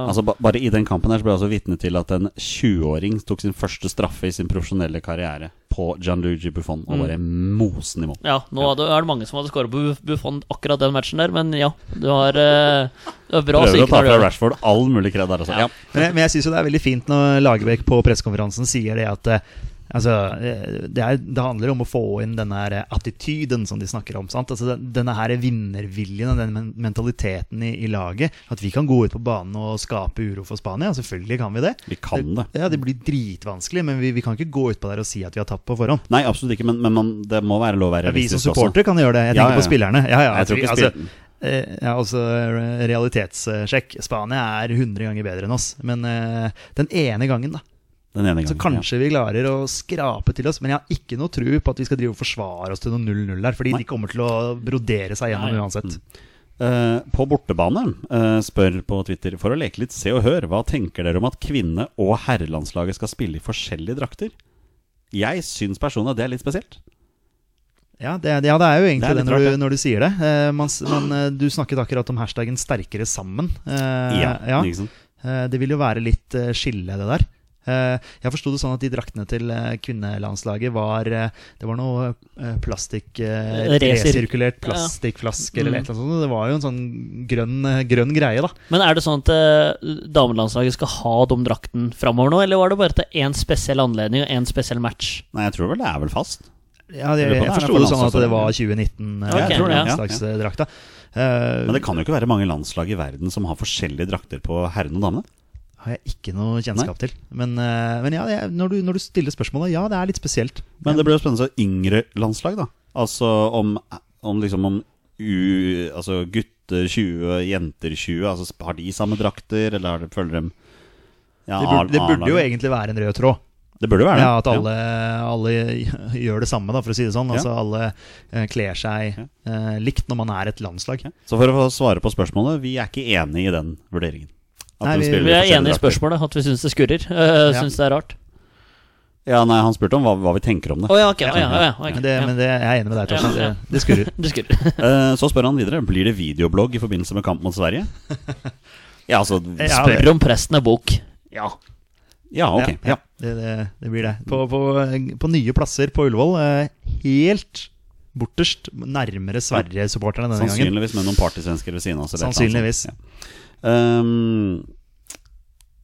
Altså, ba bare i den kampen her så ble jeg også vitne til at en 20-åring tok sin første straffe i sin profesjonelle karriere på Gianluigi Buffon, Mm. og bare mosen i mål. Ja, nå hadde- er det mange som hadde skåret på Buff- Buffon akkurat den matchen der, men ja, du har, eh, du har bra Prøver å ta psyke når du fra gjør det. Rashford all mulig kred der, altså. Ja. Men jeg, men jeg syns jo det er veldig fint når Lagerbäck på pressekonferansen sier det at eh, Altså, eh, det, er, det handler om å få inn denne her attityden som de snakker om. Sant? Altså, den- denne her vinnerviljen og den men- mentaliteten i, i laget. At vi kan gå ut på banen og skape uro for Spania. Selvfølgelig kan vi det. Vi kan det. Ja, Det blir dritvanskelig, men vi, vi kan ikke gå utpå der og si at vi har tapt på forhånd. Nei, absolutt ikke, men, men man, det må være lov å være Vi som realistisk også. supportere kan gjøre det. Jeg Ja, tenker ja, ja. på spillerne. Ja, ja, Jeg tror ikke altså, spill- eh, ja, altså eh, realitetssjekk. Spania er 100 ganger bedre enn oss. Men eh, den ene gangen, da. Den ene gangen. Så kanskje vi klarer å skrape til oss, men jeg har ikke noe tro på at vi skal drive og forsvare oss til noe 0-0 der, fordi Nei. de kommer til å brodere seg gjennom Nei. uansett. Eh, på bortebane eh, spør på Twitter For å leke litt Se og Hør, hva tenker dere om at kvinne- og herrelandslaget skal spille i forskjellige drakter? Jeg syns personlig at det er litt spesielt. Ja det, ja, det er jo egentlig Det er det, litt når, rart, du, det. når du sier det. Eh, man, s- men eh, du snakket akkurat om hashtagen 'sterkere sammen'. Eh, ja. Ikke sant? Eh, Det vil jo være litt eh, skille, det der. Eh, Jeg forsto det sånn at de draktene til eh, kvinnelandslaget var eh, Det var noe eh, plastikk eh, Eh, resir- Resirkulert plastikkflasker eller Mm. et eller annet sånt. Det var jo en sånn grønn, eh, grønn greie, da. Men er det sånn at eh, damelandslaget skal ha de drakten framover nå, eller var det bare til én spesiell anledning og én spesiell match? Nei, jeg tror vel det er vel fast. Ja, det, Lurer på om det jeg er forsto for det sånn at det landslagsdrakten. var 2019 eh, Ok, ja. landslagsdrakta. Eh, Men det kan jo ikke være mange landslag i verden som har forskjellige drakter på herrene og damene. har jeg ikke noe kjennskap til. Men, eh, men ja, jeg, når, du, når du stiller spørsmålet, ja, det er litt spesielt. Men det blir jo spennende å se yngre landslag, da. Altså om, om liksom om u, altså gutter 20, jenter 20? Altså, sp- har de samme drakter, eller har de, følger dem ja, Det burde, det A- burde jo A-laget? egentlig være en rød tråd. Det burde være det. Ja, At alle, alle gjør det samme, da, for å si det sånn. Ja. Altså Alle eh, kler seg eh, likt når man er et landslag. Ja. Så for å få svare på spørsmålet, vi er ikke enig i den vurderingen. At de Nei, vi- spiller Vi er forskjellige enige i drakter. spørsmålet, at vi syns det skurrer. Uh, Ja. Syns det er rart. Ja, nei, han spurte om hva, hva vi tenker om det. Å ja, ok. å ja, å ja, ok, Men, det, ja. men det, jeg er enig med deg, Torsten. Ja, ja. Det, det skurrer. Det skurrer. Eh, så spør han videre Blir det videoblogg i forbindelse med kamp mot Sverige. Ja, altså Ja, spør- Spør om presten er bok. Ja. Ja, ok. Ja. Det, det, det blir det. På, på, på nye plasser på Ullevål, eh, helt borterst, nærmere Sverige-supporterne denne gangen. Sannsynligvis med noen partysvensker ved siden av oss. eller et eller annet Sannsynligvis. sånt. Um,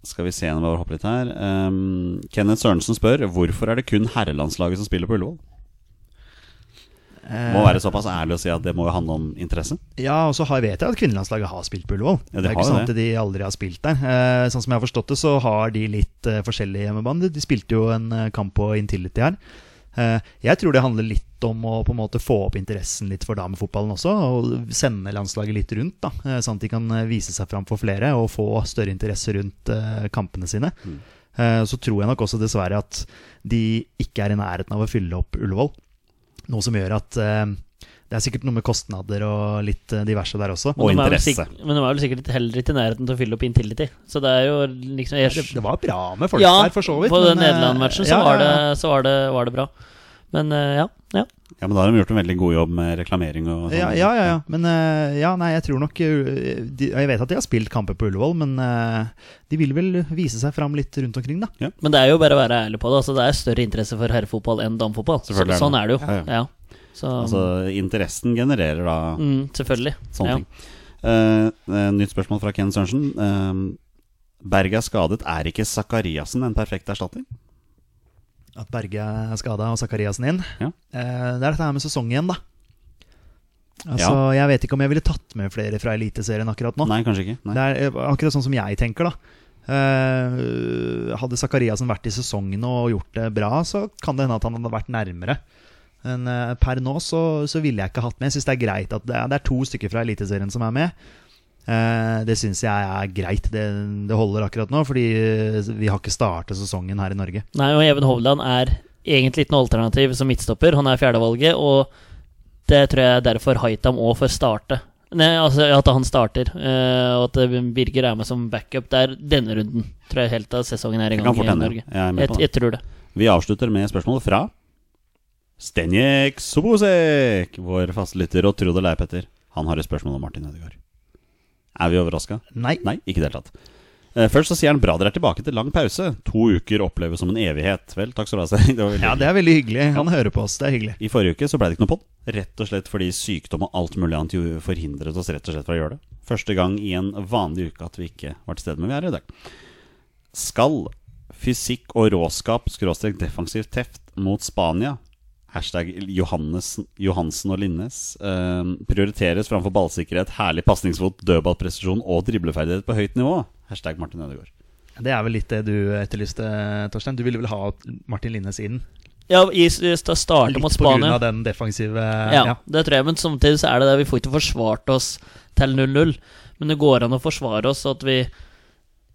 skal vi se nå, bare hoppe litt her. Um, Kenneth Sørensen spør hvorfor er det kun herrelandslaget som spiller på Ullevål. Eh, Må være såpass ærlig å si at det må jo handle om interesse. Ja, og så har, vet jeg at kvinnelandslaget har spilt på Ullevål. Ja, de det er har ikke jo sånn det. at de aldri har spilt der. Eh, sånn som jeg har forstått det, så har de litt eh, forskjellige hjemmebaner. De spilte jo en eh, kamp på Intility her. Eh, jeg tror det handler litt om å på en måte få opp interessen litt for damefotballen også. Og sende landslaget litt rundt, da. eh, sånn at de kan eh, vise seg fram for flere og få større interesse rundt eh, kampene sine. Mm. Eh, så tror jeg nok også dessverre at de ikke er i nærheten av å fylle opp Ullevål. Noe som gjør at eh, det er sikkert noe med kostnader og litt eh, diverse der også. Og Men de er vel interesse. sikk- Men de er vel sikkert heller ikke i nærheten til å fylle opp Intility. Så det er jo Det, liksom jeg, det var bra med folk Ja, der, for så vidt. På men, den eh, Nederland-matchen så, ja, var, ja, ja. det- så var, det- var det bra. Men eh, ja. ja. Ja, Men da har de gjort en veldig god jobb med reklamering og sånn. ja, ja, ja, ja. Men eh, ja, nei, jeg tror nok eh, de, Jeg vet at de har spilt kamper på Ullevål, men eh, de vil vel vise seg fram litt rundt omkring, da. Men det er jo bare å være ærlig på det. Altså, det er større interesse for herrefotball enn damefotball. Så, Selvfølgelig er det sånn er det jo. det. Ja, Ja, Så, Altså, interessen genererer da mm, selvfølgelig. sånne ja. ting. Eh, eh, nytt spørsmål fra Ken Sørensen. Eh, Berg er skadet. Er ikke Sakariassen en perfekt erstatning? At Berge er skada og Zakariassen inn. Ja. Eh, det er dette her med sesongen igjen, da. Altså, Jeg vet ikke om jeg ville tatt med flere fra Eliteserien akkurat nå. Nei, kanskje ikke. Nei. Det er eh, akkurat sånn som jeg tenker, da. Eh, hadde Zakariassen vært i sesongen og gjort det bra, så kan det hende at han hadde vært nærmere. Men eh, per nå så, så ville jeg ikke hatt med. Jeg syns det er greit at det er, det er to stykker fra Eliteserien som er med. Eh, det syns jeg er greit. Det, det holder akkurat nå, fordi eh, vi har ikke startet sesongen her i Norge. Nei, og Even Hovland er egentlig ikke noe alternativ som midtstopper. Han er fjerdevalget, og det tror jeg er derfor Haitam òg får starte. Nei, altså At han starter, eh, og at Birger er med som backup der denne runden. Tror jeg helt av sesongen er i Det gang kan i fort hende. Norge. Jeg er med Jeg, på det. jeg tror det. Vi avslutter med spørsmål fra Stenjek Sobosek, vår faste lytter og Trude Leipetter. Han har et spørsmål om Martin Ødegaard. Er vi overraska? Nei. Nei, ikke i det hele tatt. Eh, Først så sier han bra dere er tilbake til lang pause. To uker oppleves som en evighet. Vel, takk skal du ha. Stenjek. Det var veldig Ja, det er veldig hyggelig. Han hører på oss. Det er hyggelig. I forrige uke så ble det ikke noe pod. Rett og slett fordi sykdom og alt mulig annet jo forhindret oss rett og slett fra å gjøre det. Første gang i en vanlig uke at vi ikke var til stede, men vi er her i dag. Skal fysikk og råskap, skråstrek defensiv teft, mot Spania, hashtag Johannes, Johansen og Linnes, eh, prioriteres framfor ballsikkerhet, herlig pasningsfot, dødballpresisjon og dribleferdighet på høyt nivå? Hashtag Martin Ødegaard. Det er vel litt det du etterlyste, Torstein. Du ville vel ha Martin Linnes inn? Ja, i, i, sta- starte mot Litt på grunn Spania. av den defensive Ja, ja. det tror jeg, men samtidig så er det det. Vi får ikke forsvart oss til 0-0. Men det går an å forsvare oss så at vi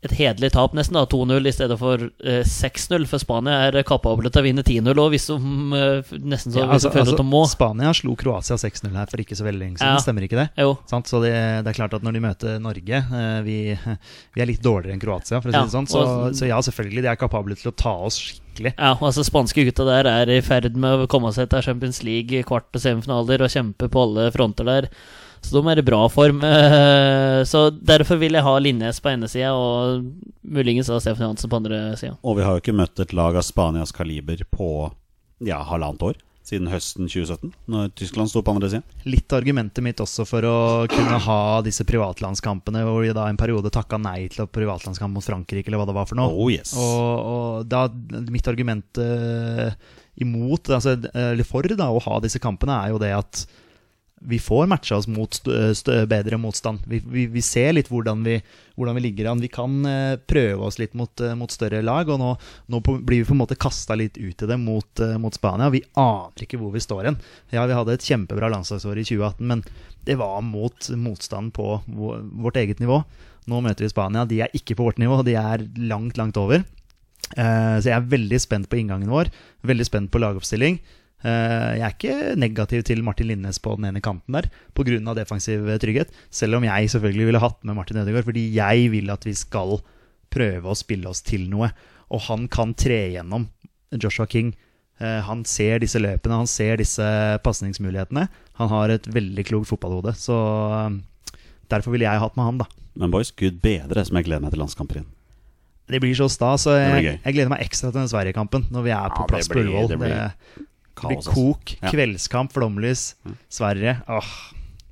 Et hederlig tap, nesten, da. 2-0 i stedet for eh, 6-0. For Spania er kapable til å vinne 10-0 òg, hvis de eh, nesten så Ja, altså, hvis de føler at de må. Spania slo Kroatia 6-0 her for ikke så veldig lenge siden, Ja. stemmer ikke det? Jo. Sant? Så det, det er klart at når de møter Norge eh, vi, vi er litt dårligere enn Kroatia, for å si Ja, det sånn. Så, og- så ja, selvfølgelig, de er kapable til å ta oss skikkelig. Ja, altså spanske gutta der er i ferd med å komme seg til Champions League i kvart- og semifinaler og kjempe på alle fronter der. Så de er i bra form. eh, Så derfor vil jeg ha Linnes på ene sida og muligens da Stefan Johansen på andre sida. Og vi har jo ikke møtt et lag av Spanias kaliber på ja, halvannet år. Siden høsten 2017, når Tyskland sto på andre siden. Litt av argumentet mitt også for å kunne ha disse privatlandskampene, hvor vi da en periode takka nei til å privatlandskamp mot Frankrike, eller hva det var for noe. Oh yes. Og, og da, mitt argument eh, imot, altså, eller for da, å ha disse kampene, er jo det at vi får matcha oss mot st- eh, st- bedre motstand. Vi, vi, vi ser litt hvordan vi, hvordan vi ligger an. Vi kan eh, prøve oss litt mot, eh, mot større lag, og nå, nå på, blir vi på en måte kasta litt ut i det mot, eh, mot Spania. Vi aner ikke hvor vi står hen. Ja, vi hadde et kjempebra landslagsår i 2018, men det var mot motstand på vår, vårt eget nivå. Nå møter vi Spania. De er ikke på vårt nivå, de er langt, langt over. Eh, Så jeg er veldig spent på inngangen vår, veldig spent på lagoppstilling. Eh, Jeg er ikke negativ til Martin Linnes på den ene kanten der, pga. defensiv trygghet. Selv om jeg selvfølgelig ville hatt med Martin Ødegaard, fordi jeg vil at vi skal prøve å spille oss til noe. Og han kan tre igjennom Joshua King. Eh, Han ser disse løpene, han ser disse pasningsmulighetene. Han har et veldig klokt fotballhode, så eh, derfor ville jeg hatt med han, da. Men boys, gud bedre som jeg gleder meg til landskamper igjen. Det blir så stas, og Det blir jeg, gøy. jeg gleder meg ekstra til den Sverige-kampen når vi er på Ja, det plass på blir- Ullevål. det Det blir blir, Kaos, altså. kok, Ja. kveldskamp, flomlys, Sverige. Åh,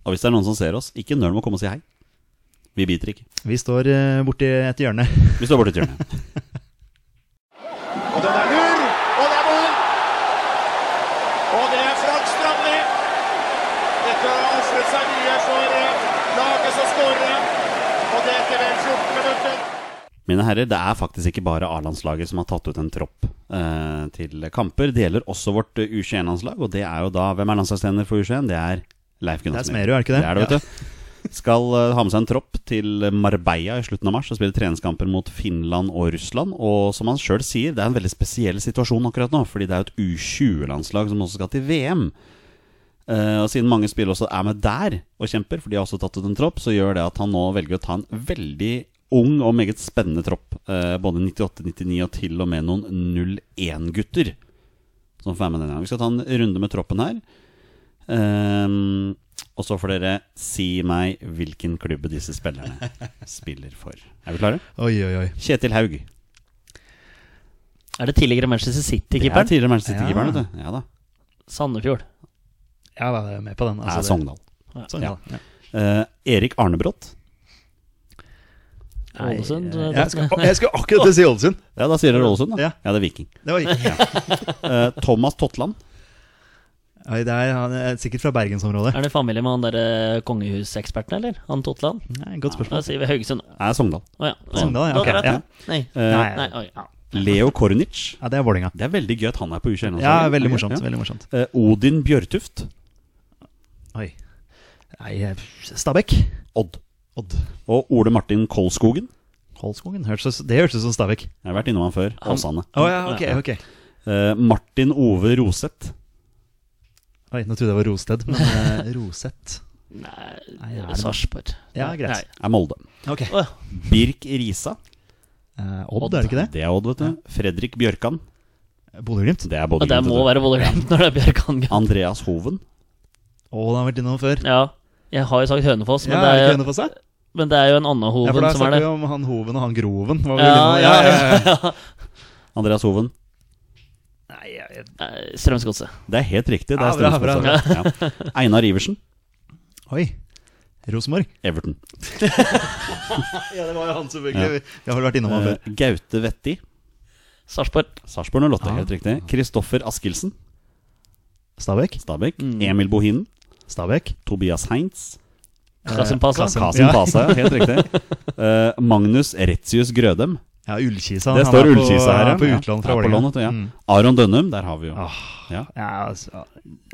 Og hvis det er noen som ser oss, ikke nøl med å komme og si hei. Vi biter ikke. vi står eh, borti et hjørne. Vi står borti et hjørne. Og den er lur, og det er mål! Og det er Frank Strandli. Dette har ofret seg mye for eh, laget som skårer. Og det etter vel 14 minutter. Mine herrer, det er faktisk ikke bare A-landslaget som har tatt ut en tropp eh, til kamper. Det gjelder også vårt eh, U21-landslag, og det er jo da Hvem er landslagstrener for U21? Det er Leif Det er Gunnarsen. Smerud, er det ikke det? Det er det, vet du. Skal eh, ha med seg en tropp til Marbella i slutten av mars og spille treningskamper mot Finland og Russland. Og som han sjøl sier, det er en veldig spesiell situasjon akkurat nå, fordi det er jo et U20-landslag som også skal til VM. Eh, og siden mange spillere også er med der og kjemper, for de har også tatt ut en tropp, så gjør det at han nå velger å ta en veldig ung og meget spennende tropp. eh, både 98, 99 og til og med noen 01-gutter som får være med denne gangen. Vi skal ta en runde med troppen her. Ehm, og så får dere si meg hvilken klubb disse spillerne spiller for. Er vi klare? Oi, oi, oi. Kjetil Haug. Er det tidligere Det Manchester er City-keeperen? tidligere Manchester City-keeperen, Ja. vet du. Ja da. Sandefjord. Ja, da er jeg med på den. Det er Altså, det- Sogndal. sånn, ja. Ja. Eh, Erik Arnebrott. Ålesund. eh, Nei, eh, det- Jeg skulle, jeg skulle akkurat til å si Ålesund. Ja, da sier dere Ålesund, da. Ja. Ja, det er Viking. Det var ikke Eh, Thomas Totland. Oi, det er, han er sikkert fra bergensområdet. Er det familie med han derre kongehuseksperten, eller? Han Totland? Nei, Godt Da spørsmål. sier vi Haugesund. Det er Sogndal. Å ja. Sogndal, ja, Da er ok, det ja. rett, Nei. Eh, Nei, Nei, oi. ja. Leo Kornic. Ja, det er Vålinga Det er veldig gøy at han er på U21. Ja, veldig morsomt. veldig morsomt Eh, Odin Bjørtuft. Oi. Nei, eh, Stabæk. Odd. Odd Og Ole Martin Kolskogen. Holskogen. Hørtes- Det hørtes ut som Stabæk. Jeg har vært innom han før. Åsane. Å ja, ok, ok Eh, Martin Ove Roseth. Oi, nå trodde jeg det var Rosted, men eh, Roset Nei, er Nei, det- Sarpsborg. Ja, greit. Nei. Er Molde. Ok Å ja. Birk Risa. Eh, Odd, er det ikke det? Det er Odd, vet du. Fredrik Bjørkan. Bodø-Glimt? Det er Bodø. Og det Glimt, må vet være Bodø-Glimt når det er Bjørkan. du. Andreas Hoven. Å, den har vært innom før. Ja. Jeg har jo sagt Hønefoss, men, Ja, det, er det er ikke jo, Hønefoss, da? men det er jo en annen Ja, for Hoven da som er snakker vi det. om han Hoven og han Groven. Var vel Ja, innom- ja, ja, Andreas Hoven. Nei, jeg- jeg- Nei, Strømsgodset. Det er helt riktig. Det er Ja, bra, bra, Strømsgodset. Ja. Einar Iversen. Oi. Rosenborg? Everton. Ja, det var jo han, selvfølgelig. Vi har vel vært innom han Eh, før. Gaute Vetti. Sarpsborg. Eh, Sarpsborg og Lotte. Ja. Helt riktig. Kristoffer Askildsen. Stabæk? Mm. Stabæk. Emil Bohinen. Stabæk. Tobias Heinz. Kasim Pasa. Kasim. Kasim Ja. Pasa, ja. Helt riktig. Eh, Magnus Retzius Grødem. Ja, Ullkisa. Det han står er på- Ullkisa her. han ja. er På utlån fra Ja, på Vålerenga. lån, vet du, ja. Mm. Aron Dønnum, der har vi jo. Åh. Ja. Ja, altså,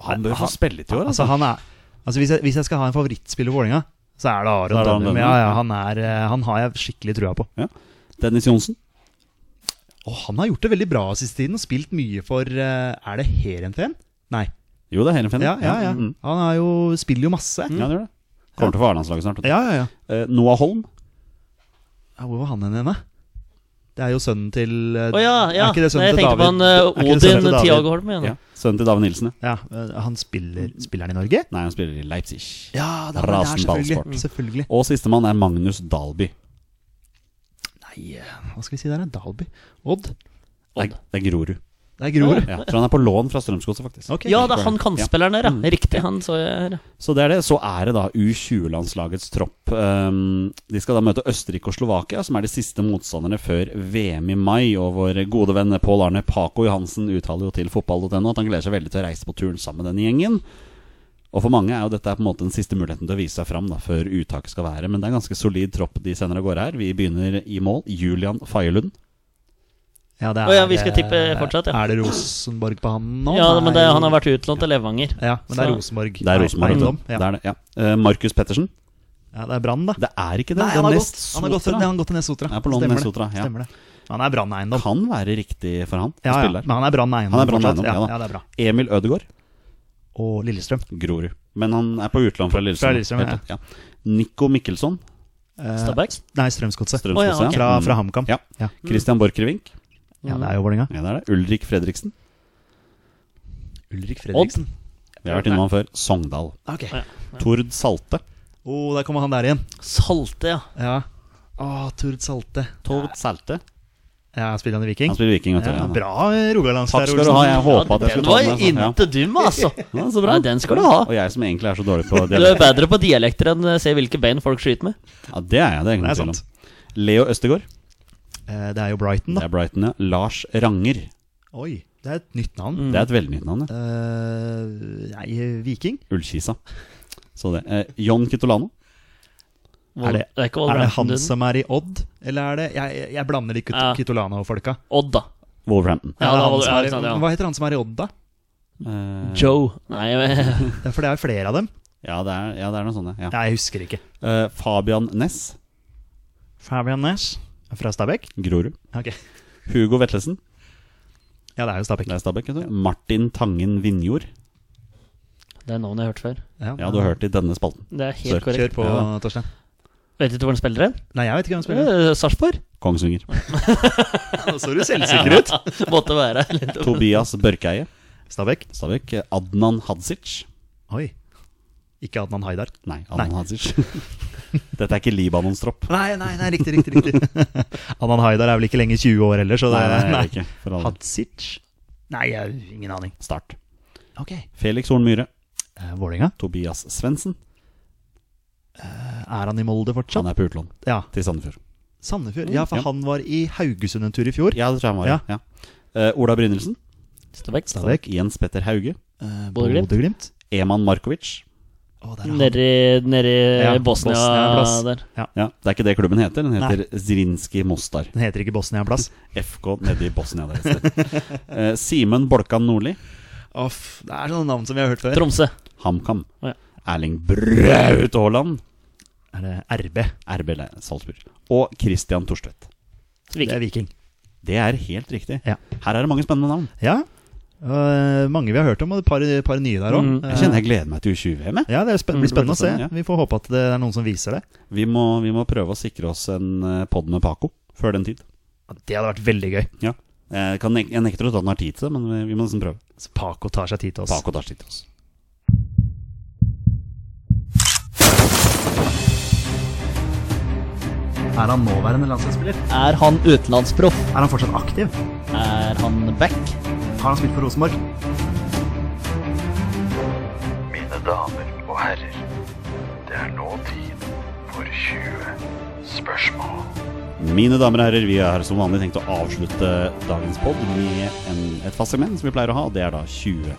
Han bør få spille i år, altså, altså. han er, altså hvis, jeg, hvis jeg skal ha en favorittspiller i Vålerenga, så Så er det er Aron det Aron Dønnum. Dønnum. Ja, ja, han, er, eh, han har jeg skikkelig trua på. Dennis Johnsen. Og han har gjort det veldig bra siste tiden, og spilt mye for eh, Er det Heerenveen? Nei. Jo, det er Heerenveen. Ja, ja, Mm. ja. Mm. Han er jo, spiller jo masse. Ja, det gjør det. Kommer til å få A-landslaget snart. vet du. Ja, ja, ja. Eh, Noah Holm. ja hvor var han hen, henne? Det er jo sønnen til eh, Å ja, ja. Er ikke det Nei, sønnen jeg til tenkte David? på han eh, Er ikke det sønnen Odin til David? Tiago Holm igjen. Ja. Sønnen til David Nilsen. ja. Ja, eh, han spiller Spiller han i Norge? Nei, han spiller i Leipzig. Ja, det er, det er Rasenball selvfølgelig. Mm. selvfølgelig. Og sistemann er Magnus Dalby. Nei, eh, hva skal vi si der? da? Dalby? Odd? Det er, det er Grorud. Det er Grorud. Ja, tror han er på lån fra Strømsgodset, faktisk. Ok. Ja, det er han kantspilleren der, Mm. ja. Riktig, han så jeg her. ja. Så det er det. Så er det da U20-landslagets tropp. Um, de skal da møte Østerrike og Slovakia, som er de siste motstanderne før VM i mai. Og vår gode venn Pål Arne Paco Johansen uttaler jo til fotball.no at han gleder seg veldig til å reise på turen sammen med denne gjengen. Og for mange er jo dette på en måte den siste muligheten til å vise seg fram da, før uttak skal være. Men det er en ganske solid tropp de sender av gårde her. Vi begynner i mål. Julian Fagerlund. Ja, det eh, Å ja, vi skal tippe fortsatt, ja. Er det Rosenborg på han nå? Ja, men det, han har vært utlånt til Levanger. Ja, men det er Så- Rosenborg. Det er Rosenborg. Eiendom, vet du. Ja. Det er det, ja. Eh, Markus Pettersen. ja, det er Brann, da. Det er ikke det. Nei, det han er har nest gått, han har gått, Sotra. til- han har gått til Nessotra. Ja, på lån Stemmer det. Nessotra, ja. Stemmer det. Han er Brann Eiendom. Kan være riktig for han å Ja, ja, spille. men han er Brann Eiendom. Han er Brann Eiendom, fortsatt. ja da. ja, ja, det er bra. Emil Ødegaard. Og Lillestrøm. Grorud. Men han er på utlån fra Lillestrøm. Fra Lillestrøm, helt ja. rett, ja. Nico Mikkelsson. Eh, Stabæk? nei, Strømsgodset. Strømsgodset, Å, ja, ok. Fra, Mm. fra HamKam. Ja. Ja. Christian Borchgrevink. ja, det er jo Vålerenga. Ja, det er det. Ulrik Fredriksen. Ulrik Fredriksen. Vi har vært innom han før. Sogndal. Ok. Ja. Tord Salte. Oh, der kommer han der igjen. Salte, ja. Ja. Å, Tord Salte. Tord Salte. Ja, spiller han i Han Viking? spiller viking. vet du. Ja, Ja, bra eh, Rogalands Takk skal du ha. Jeg håpa at jeg skulle den ta var den. altså. Ja. inte dum, altså. Ja, så bra. Nei, den skal du ha. Og jeg som egentlig er så dårlig på Du er dialekt. bedre på dialekter enn eh, se hvilke bein folk skyter med. Ja, det er jeg. Det er Det ingen er tvil om. sant. Leo Østegård. Eh, det er jo Brighton, Det da. er Brighton, ja. Lars Ranger. Oi, det er et nytt navn. Mm. Det er et veldig nytt navn. ja. Eh, nei, Viking? Ullkisa. Så det. Eh, John Kitolano. Er det, det er ikke er det han Wolverhampton. du- som er i Odd, eller er det Jeg, jeg- jeg blander de Kit Ja. Kitolano-folka. Odd, da. Wolverhampton. Ja, Er det da han var- som ja, er i- ikke sant, ja. Hva heter han som er i Odd, da? Eh, Joe. Nei, jeg- Det er- For det er jo flere av dem. ja, det er, ja, det er noe sånt, ja. Nei, jeg husker ikke. Eh, Fabian Ness. Fabian Nash fra Stabæk? Grorud. Ok. Hugo Vetlesen. Ja, det er jo Stabæk. Det er Stabæk. vet du. Martin Tangen Vinjord. det er navnet jeg har hørt før. Ja, du har hørt det i denne spalten. Det er helt Sør. korrekt. Kjør på, Ja. Torstein. Vet du hvor han spiller hen? Nei, jeg vet ikke hvem som spiller. Eh, Sarpsborg? Kongsvinger. Nå så du selvsikker ut. Måtte være. litt- Tobias Børkeie. Stabæk. Stabæk. Eh, Adnan Hadzic. Oi. Ikke Adnan Haidar. Nei, Adnan Nei. Hadzic. Dette er ikke Libanons tropp. Nei, nei, nei, riktig, riktig. riktig Adnan Haidar er vel ikke lenger 20 år heller, så det Nei, nei, nei. ikke for all del. Hadzic? Nei, jeg har ingen aning. Start. Ok. Felix Horn Myhre. Eh, Vålerenga? Tobias Svendsen. Eh, Er han i Molde fortsatt? Han er på utlån Ja. til Sandefjord. Sandefjord. Ja, for Ja. han var i Haugesund en tur i fjor. Ja, det tror jeg han var. Ja. Ja. Eh, Ola Brynildsen. Stabæk. Stabæk. Jens Petter Hauge. Eh, Bodø-Glimt. Bodø-Glimt. Eman Markovic. Å, der er han. Nedi, nedi Ja, Bosnia, Bosnia-plass. der. Ja, Det er ikke det klubben heter. Den heter Zrinski Mostar. Den heter ikke Bosnia en plass. FK nede i Bosnia der et sted. Eh, Simen Bolkan Nordli. Off, det er sånne navn som vi har hørt før. Tromsø. HamKam. Å, ja. Erling Braut Haaland. Er det RB? RB Le- Salzburg. Og Christian Thorstvedt. Det Viking. er Viking. Det er helt riktig. Ja. Her er det mange spennende navn. Ja. Øh, mange vi har hørt om, og et par, par nye der òg. Mm. Jeg kjenner jeg gleder meg til U20-VM. jeg. Ja, det er spen blir spennende å se. Ja. Vi får håpe at det er noen som viser det. Vi, må- vi må prøve å sikre oss en eh, pod med Paco før den tid. Ja, Det hadde vært veldig gøy. Ja. Jeg, kan, nek- jeg nekter å tro at han har tid til det, men vi- vi må nesten prøve. Så Paco tar seg tid til oss. Paco tar tid til oss. Er han nåværende landslagsspiller? Er han utenlandsproff? Er han fortsatt aktiv? Er han back? Har han spilt for Rosenborg? Mine damer og herrer, det er nå tid for 20 spørsmål. Mine damer og herrer, vi har som vanlig tenkt å avslutte dagens pod med en, et fast segment som vi pleier å ha, og det er da 20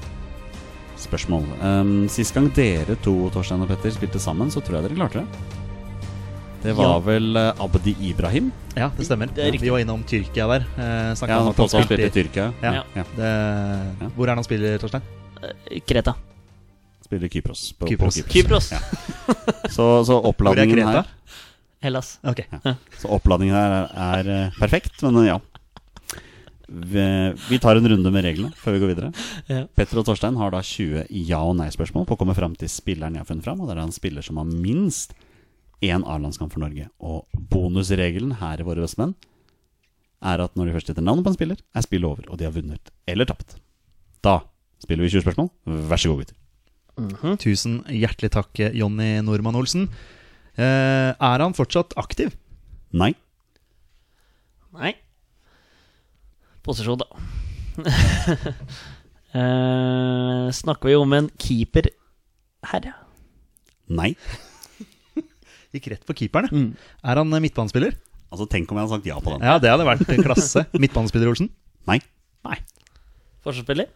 spørsmål. Um, sist gang dere to, Torstein og Petter, spilte sammen, så tror jeg dere klarte det. Det var Ja. vel eh, Abdi Ibrahim. Ja, det stemmer. Det er riktig. vi var innom Tyrkia der. Eh, snakket Ja, om han at han påstod han spilte spilte i i Tyrkia. Ja. Ja. Det... Hvor er han spiller, Torstein? Kreta. Spiller i Kypros. På, Kypros. På Kypros. Kypros. Så, så oppladningen Kreta? her Hellas. Ok. Så oppladningen her er, er eh, perfekt, men eh, ja. Vi, vi tar en runde med reglene før vi går videre. Ja. Petter og Torstein har da 20 ja- og nei-spørsmål på å komme fram til spilleren jeg har funnet fram. Og det er en spiller som har minst én A-landskamp for Norge. Og bonusregelen her i Våre bestemenn er at når de først heter navnet på en spiller, er spillet over, og de har vunnet eller tapt. Da spiller vi 20 spørsmål. Vær så god, gutter. Tusen hjertelig takk, Jonny Normann Olsen. Eh, er han fortsatt aktiv? Nei. Nei. Posisjon, da. Eh, snakker vi om en keeper her, ja. Nei. Gikk rett på keeperne. Mm. Er han eh, midtbanespiller? Altså, tenk om jeg hadde sagt ja på den. Ja, det hadde vært en klasse. Midtbanespiller Olsen? Nei. Forsvarsspiller?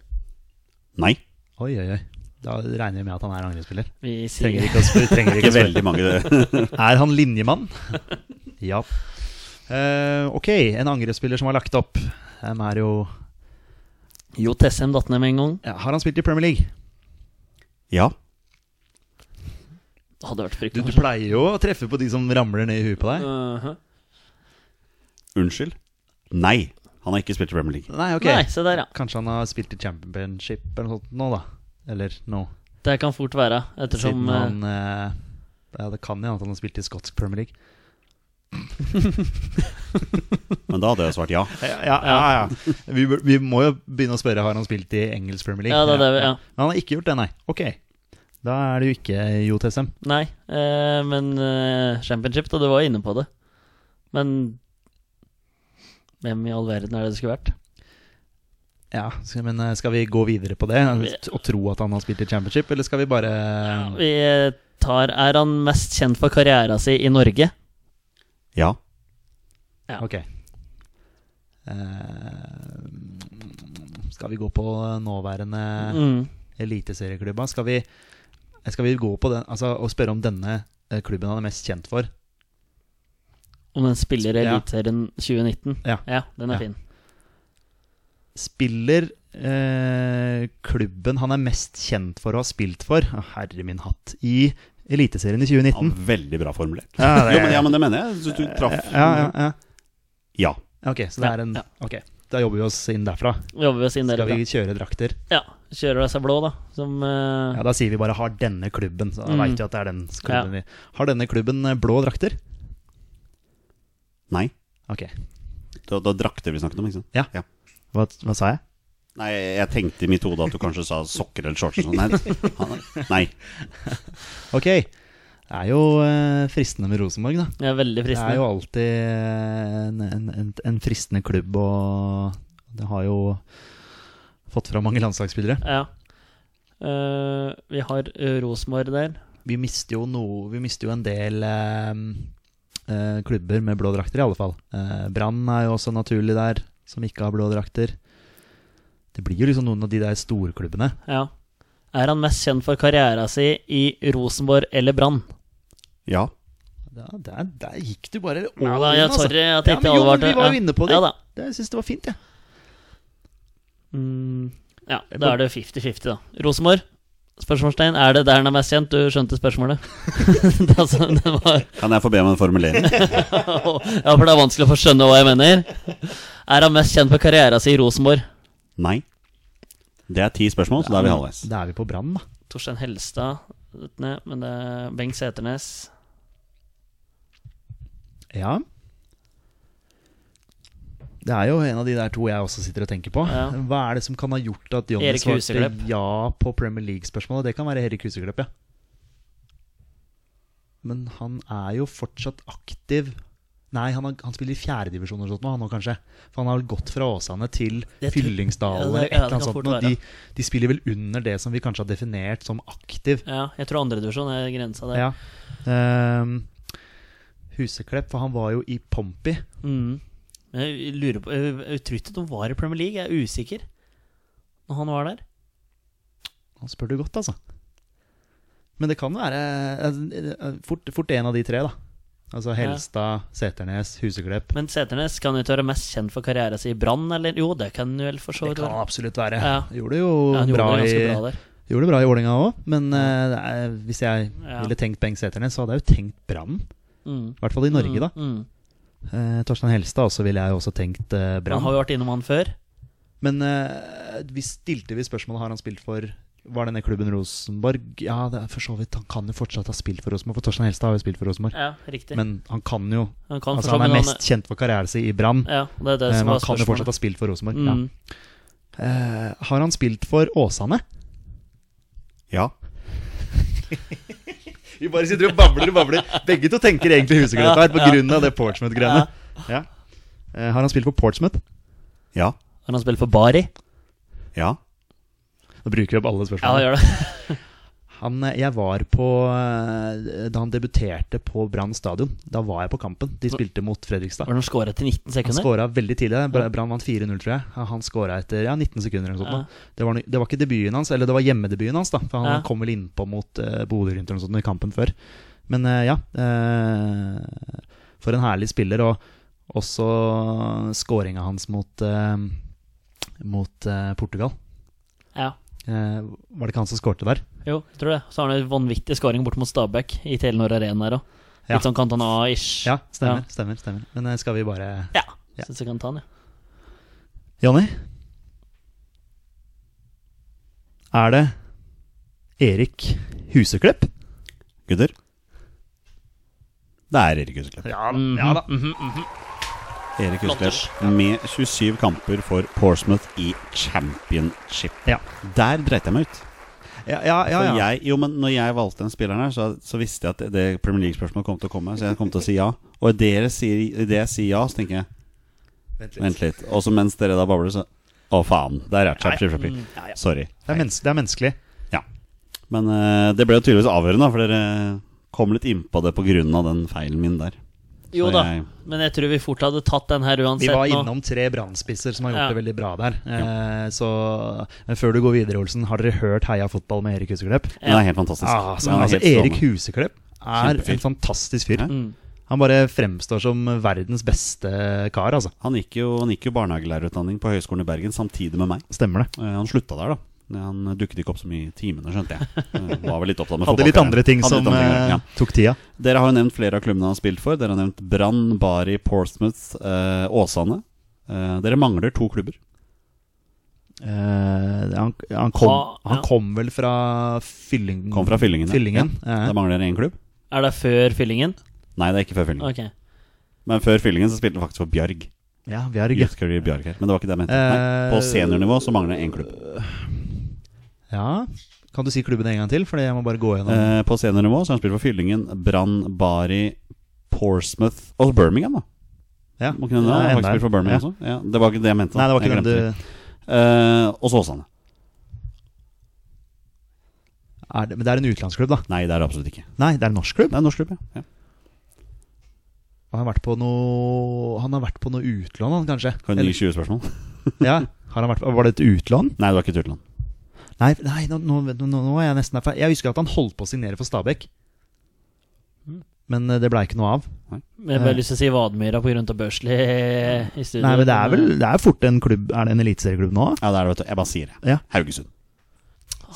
Nei. Oi, oi, oi. Da regner vi med at han er angrepsspiller. Vi Trenger sier ikke å spørre. Trenger ikke Ikke å spørre. veldig mange det. Er han linjemann? ja. Eh, ok, en angrepsspiller som har lagt opp. Eh, Dem er jo Jo Tessem datt ned med en gang. ja, Har han spilt i Premier League? Ja. Det hadde vært Du, fryktelig du morsomt. pleier jo å treffe på de som ramler ned i huet på deg. Mhm. Unnskyld? Nei, han har ikke spilt i Premier League. Nei, ok. Nei, se der, ja. Kanskje han har spilt i championship eller noe sånt nå, da. Eller nå. Det kan fort være, Siden ettersom eh, han eh, Ja, det kan hende at han har spilt i skotsk Premier League. Men da hadde jeg svart ja. Ja, ja, ja, ja. Vi, bør- vi må jo begynne å spørre Har han spilt i engelsk Premier League. Ja, det er det vi- ja. Men han har ikke gjort det, nei. Ok. Da er det jo ikke Jo TSM. Nei, eh, men eh, championship, da. Du var inne på det. Men hvem i all verden er det det skulle vært? Ja, skal- men eh, skal vi gå videre på det og tro at han har spilt i championship, eller skal vi bare Vi eh, tar Er han mest kjent for karriera si i Norge? Ja. Ja. Ok. Eh, skal vi gå på nåværende Mm. eliteserieklubba? Skal vi, skal vi gå på den altså, og spørre om denne eh, klubben han er mest kjent for? Om den spiller i Ja. Eliteserien 2019? Ja. den er Ja. fin. Spiller eh, klubben han er mest kjent for å ha spilt for, å, herre min hatt, i Eliteserien i ja 2019? veldig bra formulert. Ja, Jo, men, ja, men det mener jeg. Så du traff. ja, ja, ja. Ja. Ok, så det Ja, er en ja. Ok, da jobber vi oss inn derfra. Jobber vi oss inn der? Skal da? vi kjøre drakter? Ja. Kjører disse blå, da. Som eh, Ja, Da sier vi bare 'har denne klubben'. Så da Mm. vet vi at det er den klubben vi Har denne klubben eh, blå drakter? Nei. Ok, Da, da drakter vi snakket om, ikke sant? hva, hva sa jeg? Nei, jeg tenkte i mitt hode at du kanskje sa sokker eller shorts og sånn. Nei. Han er- Nei. Ok, det er jo eh, fristende med Rosenborg, da. er veldig Det er fristende. jo alltid eh, en, en, en, en fristende klubb, og det har jo fått fra mange landslagsspillere. Ja. Eh, vi har eh, Rosenborg der. Vi mister jo, noe, vi mister jo en del eh, eh, klubber med blå drakter, i alle fall. Eh, Brann er jo også naturlig der, som ikke har blå drakter. Det blir jo liksom noen av de der storklubbene. Ja. Er han mest kjent for karriera si i Rosenborg eller Brann? Ja. Ja, der, der gikk du bare all Ja da, in, jeg, altså. sorry, jeg Ja, tenkte men alle jo, var men vi var jo inne på det. Ja da. Det- Jeg syns det var fint, jeg. Mm, ja, da er det 50-50, da. Rosenborg? Spørsmålstegn. Er det der han er mest kjent? Du skjønte spørsmålet. det, er altså, det var Kan jeg få be om en formulering? Ja, for det er vanskelig å få skjønne hva jeg mener. Er han mest kjent for karriera si i Rosenborg? Nei. Det er ti spørsmål, så da er vi halvveis. Da er vi på Brann, da. Torstein Helstad, vet du, men det er Bengt Seternes. Ja. Det er jo en av de der to jeg også sitter og tenker på. Ja. Hva er det som kan ha gjort at Johnny Erik svarte Huseklepp. ja på Premier League-spørsmålet? Det kan være Erik Huseklepp, ja. Men han er jo fortsatt aktiv Nei, han, har, han spiller i fjerdedivisjon eller sånt nå, han nå kanskje. For han har vel gått fra Åsane til Jeg tror- Fyllingsdalen Ja, eller det- et ja, det eller kan annet sånt. fort nå. være. De, de spiller vel under det som vi kanskje har definert som aktiv. Ja, jeg tror andredivisjon er grensa der. Ja. Ehm, Huseklepp, for han var jo i Pompey. Mm. Men Jeg lurer på Jeg er utryddet om han var i Premier League, jeg er usikker. Når han var der. Han spør du godt, altså. Men det kan være eh, fort, fort en av de tre, da. Altså Helstad, Seternes, Huseklepp. Men Seternes kan jo ikke være mest kjent for karrieren sin i Brann, eller? Jo, det kan han vel for så Det vidt kan være. han absolutt være. Ja. Gjorde det jo Ja, han gjorde bra, det i, ganske bra der. gjorde det bra i Ålinga òg, men eh, det er, hvis jeg Ja. ville tenkt Bengt Seternes, så hadde jeg jo tenkt Brann. Mm. I hvert fall i Norge, da. Mm. Eh, Torstein Helstad også ville jeg jo også tenkt eh, Han har Brann. jo vært innom han før. Men eh, vi stilte vi spørsmålet har han spilt for Var denne klubben Rosenborg? Ja, det er for så vidt. Han kan jo fortsatt ha spilt for Rosenborg, for Torstein Helstad har jo spilt for Rosenborg. Ja, riktig. Men han kan jo han kan altså, for så han er vidt- mest kjent for karrieren sin i Brann. Ja, det er det eh, som Men han var kan jo fortsatt spørsmålet. ha spilt for Rosenborg. Mm. Ja. Eh, har han spilt for Åsane? Ja. Vi bare sitter og babler og babler. Begge to tenker egentlig Husegrøt her, på grunn av det Portsmouth-grønne. Ja. Eh, har han spilt for Portsmouth? Ja. Har han spilt for Bari? Ja. Da bruker vi opp alle Ja, han spørsmålene. gjør det. Han, eh, jeg var på eh, Da han debuterte på Brann stadion, da var jeg på kampen. De spilte mot Fredrikstad. Var det de skåra etter 19 Han sekunder? skåra veldig tidlig. Br- Brann vant 4-0, tror jeg. Ja, Han skåra etter ja, 19 sekunder. eller noe sånt. da. Det, var, no- det var ikke debuten hans, eller det var hjemmedebuten hans. da For Han Ja. kom vel innpå mot uh, Bodø-Glimt eller noe sånt i kampen før. Men eh, ja eh, For en herlig spiller. Og også skåringa hans mot, eh, mot eh, Portugal. Ja. Eh, var det ikke han som skårte der? Jo, jeg tror det. Så har han en vanvittig skåring bort mot Stabæk i Telenor Arena her òg. Ja. Litt sånn Cantona-ish. Ja, stemmer. Ja. stemmer, stemmer Men eh, skal vi bare ja. Ja. Syns jeg kan ta den, ja. Jonny? Er det Erik Huseklepp? Gutter? Det er Erik Huseklepp. Ja, Mhm, ja da. mhm, mhm. Erik Flotters. Huseklepp med 27 kamper for Portsmouth i championship. Ja. Der dreit jeg meg ut. Ja, ja, ja, For ja. jeg, jo, men når jeg valgte den spilleren her, så, så visste jeg at det, det Premier League-spørsmålet kom til å komme. Så jeg kom til å si ja. Og i det dere sier, i det jeg sier ja, så tenker jeg Vent Vent litt. Og så mens dere da babler, så Å, faen. Der er Chapter Shopper. Mm, ja, ja. Sorry. Det, er mennes- det er menneskelig. Men eh, det ble jo tydeligvis avgjørende, da, for dere kom litt innpå det pga. den feilen min der. Jo Så da, jeg- men jeg tror vi fort hadde tatt den her uansett. Vi var nå. innom tre brannspisser som har gjort Ja. det veldig bra der. Eh, så men før du går videre, Olsen, har dere hørt Heia fotball med Erik Huseklepp? Den er helt fantastisk. Ah, altså, Den er altså, helt strålende. Erik Huseklepp er Kjempefyr. en fantastisk fyr. Ja. Mm. Han bare fremstår som verdens beste kar, altså. Han gikk jo, han gikk jo barnehagelærerutdanning på Høgskolen i Bergen samtidig med meg. Stemmer det. Eh, Han slutta der, da. Eh, Han dukket ikke opp så mye i timene, skjønte jeg. Eh, Var vel litt opptatt med Hadde litt fotballkarrieren. andre ting Hadde som litt andre ting, eh, ja. tok tida. Dere har jo nevnt flere av klubbene han har spilt for. Dere har nevnt Brann, Bari, Portsmouth, eh, Åsane. Eh, dere mangler to klubber. Eh, han, han, kom, Ah, ja. han kom vel fra Fyllingen? Kom fra Fyllingen. ja. Mm. Fyllingen, Ja. eh. Da mangler dere én klubb. Er det før fyllingen? Nei, det er ikke før Fyllingen. Ok. Men før Fyllingen så spilte han faktisk for Bjarg. Ja, vi har gøy. Youth Career Bjarg her. Men det var ikke det jeg mente. Nei, på Eh, seniornivå så mangler det én klubb. Ja, kan du si klubben en gang til? Fordi jeg må bare gå gjennom. Eh, på seniornivå så har han spilt for Fyllingen, Brann, Bari, Portsmouth og Birmingham, da. ja. Må ikke nevne det. Nei, Han har enda faktisk en. spilt for Birmingham Ja. også. Ja, det var ikke det jeg mente. da. Nei, det var Jeg ikke den glemte du Eh, og så Åsane. er det, Men det er en utenlandsklubb, da? Nei, det er det absolutt ikke. Nei, det er en norsk klubb. Det er en norsk klubb, ja. ja. Han har vært på noe Han har vært på noe utlån, han kanskje? Kan du gi 20 spørsmål? ja, har han vært på, Var det et utlån? Nei, det var ikke et utland. Nei, nei nå, nå, nå, nå er jeg nesten her feil. Jeg husker at han holdt på å signere for Stabæk. Men eh, det blei ikke noe av. Men Jeg har bare lyst til å si Vadmyra pga. Børsli i Eh. studio. Nei, men det er vel det er fort en klubb Er det en eliteserieklubb nå? Ja, det er det, vet du. Jeg bare sier det. Ja. Haugesund.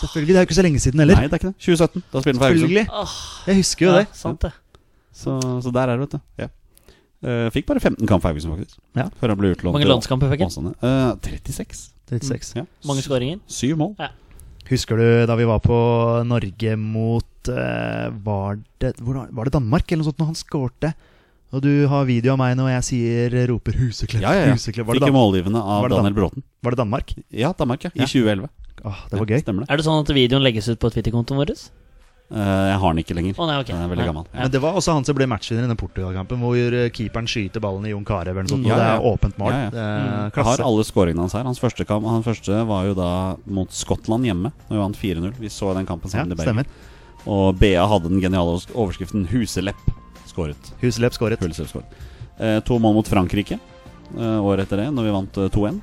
Selvfølgelig, det er jo ikke så lenge siden heller. Nei, det er ikke det. 2017. Da spiller han for Haugesund. Selvfølgelig. Jeg husker jo Ja, det. sant det. Så, så der er det, vet du. Ja. Eh, fikk bare 15 kamp for Haugesund, faktisk. Ja. Før han ble utlånt. Mange til landskamper fikk han. Åsane. Eh, 36. 36. Ja. Mange skåringer. Syv mål. Husker du da vi var på Norge mot eh, var, det, hvor, var det Danmark eller noe sånt når han skårte? Og du har video av meg når jeg sier roper 'Huseklepp', Ja, ja, ja. Huseklepp. Var, Fikk det jo Dan målgivende av Var det Dan- Daniel Bråten. var det Danmark? Ja, Danmark, ja. I Ja. 2011. Åh, det var Ja, gøy. Stemmer det. Er det sånn at videoen legges ut på Twitter-kontoen vår? Å Eh, jeg har den ikke lenger. nei, ok. Den er veldig Nei. gammel. Ja. Men det var også han som ble matchvinner i den Portugal-kampen, hvor eh, keeperen skyter ballen i Jon Carew eller noe sånt. Ja, Og det ja. er åpent mål. Ja, ja. Det er Jeg har klasse. alle skåringene hans her. Hans første, kamp, han første var jo da mot Skottland hjemme. Når vi vant 4-0. Vi så den kampen Ja, sammen i Bergen. stemmer. Og BA hadde den geniale overs- overskriften 'Huselepp skåret'. Huseklepp skåret. Huselepp skåret. Eh, to mål mot Frankrike eh, året etter det, når vi vant eh, 2-1.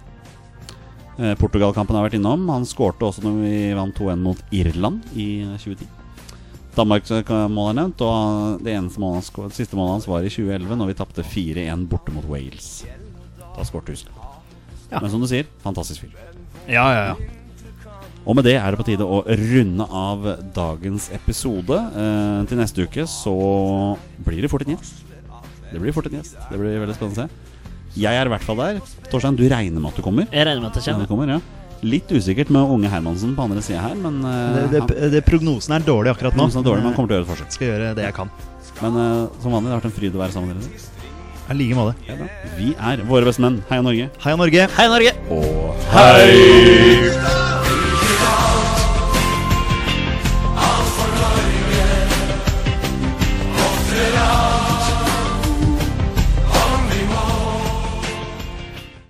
Eh, Portugal-kampen har jeg vært innom. Han skårte også når vi vant 2-1 mot Irland i eh, 2010. Danmarks eh, mål er nevnt, og han- det eneste målet han skå- siste målet hans var i 2011, når vi tapte 4-1 borte mot Wales. Da skårte Huselepp. Ja. Men som du sier, fantastisk fyr. Ja, ja, ja. Og med det er det på tide å runde av dagens episode. Eh, til neste uke så blir det fort en gjest. Det blir fort en gjest. Det blir veldig spennende å se. Jeg er i hvert fall der. Torstein, du regner med at du kommer? Jeg regner med at det Ja, du kommer. kommer ja. Litt usikkert med unge Hermansen på andre sida her, men Det, eh, det, han- det, prognosen er dårlig akkurat nå. Mm. noe som er dårlig, men han kommer til å gjøre et forsøk. Skal gjøre det jeg kan. Men eh, som vanlig, det har vært en fryd å være sammen med dere. I like måte. Ja, bra. Vi er våre beste menn. Heia Norge. Heia Norge! Hei, Norge! Og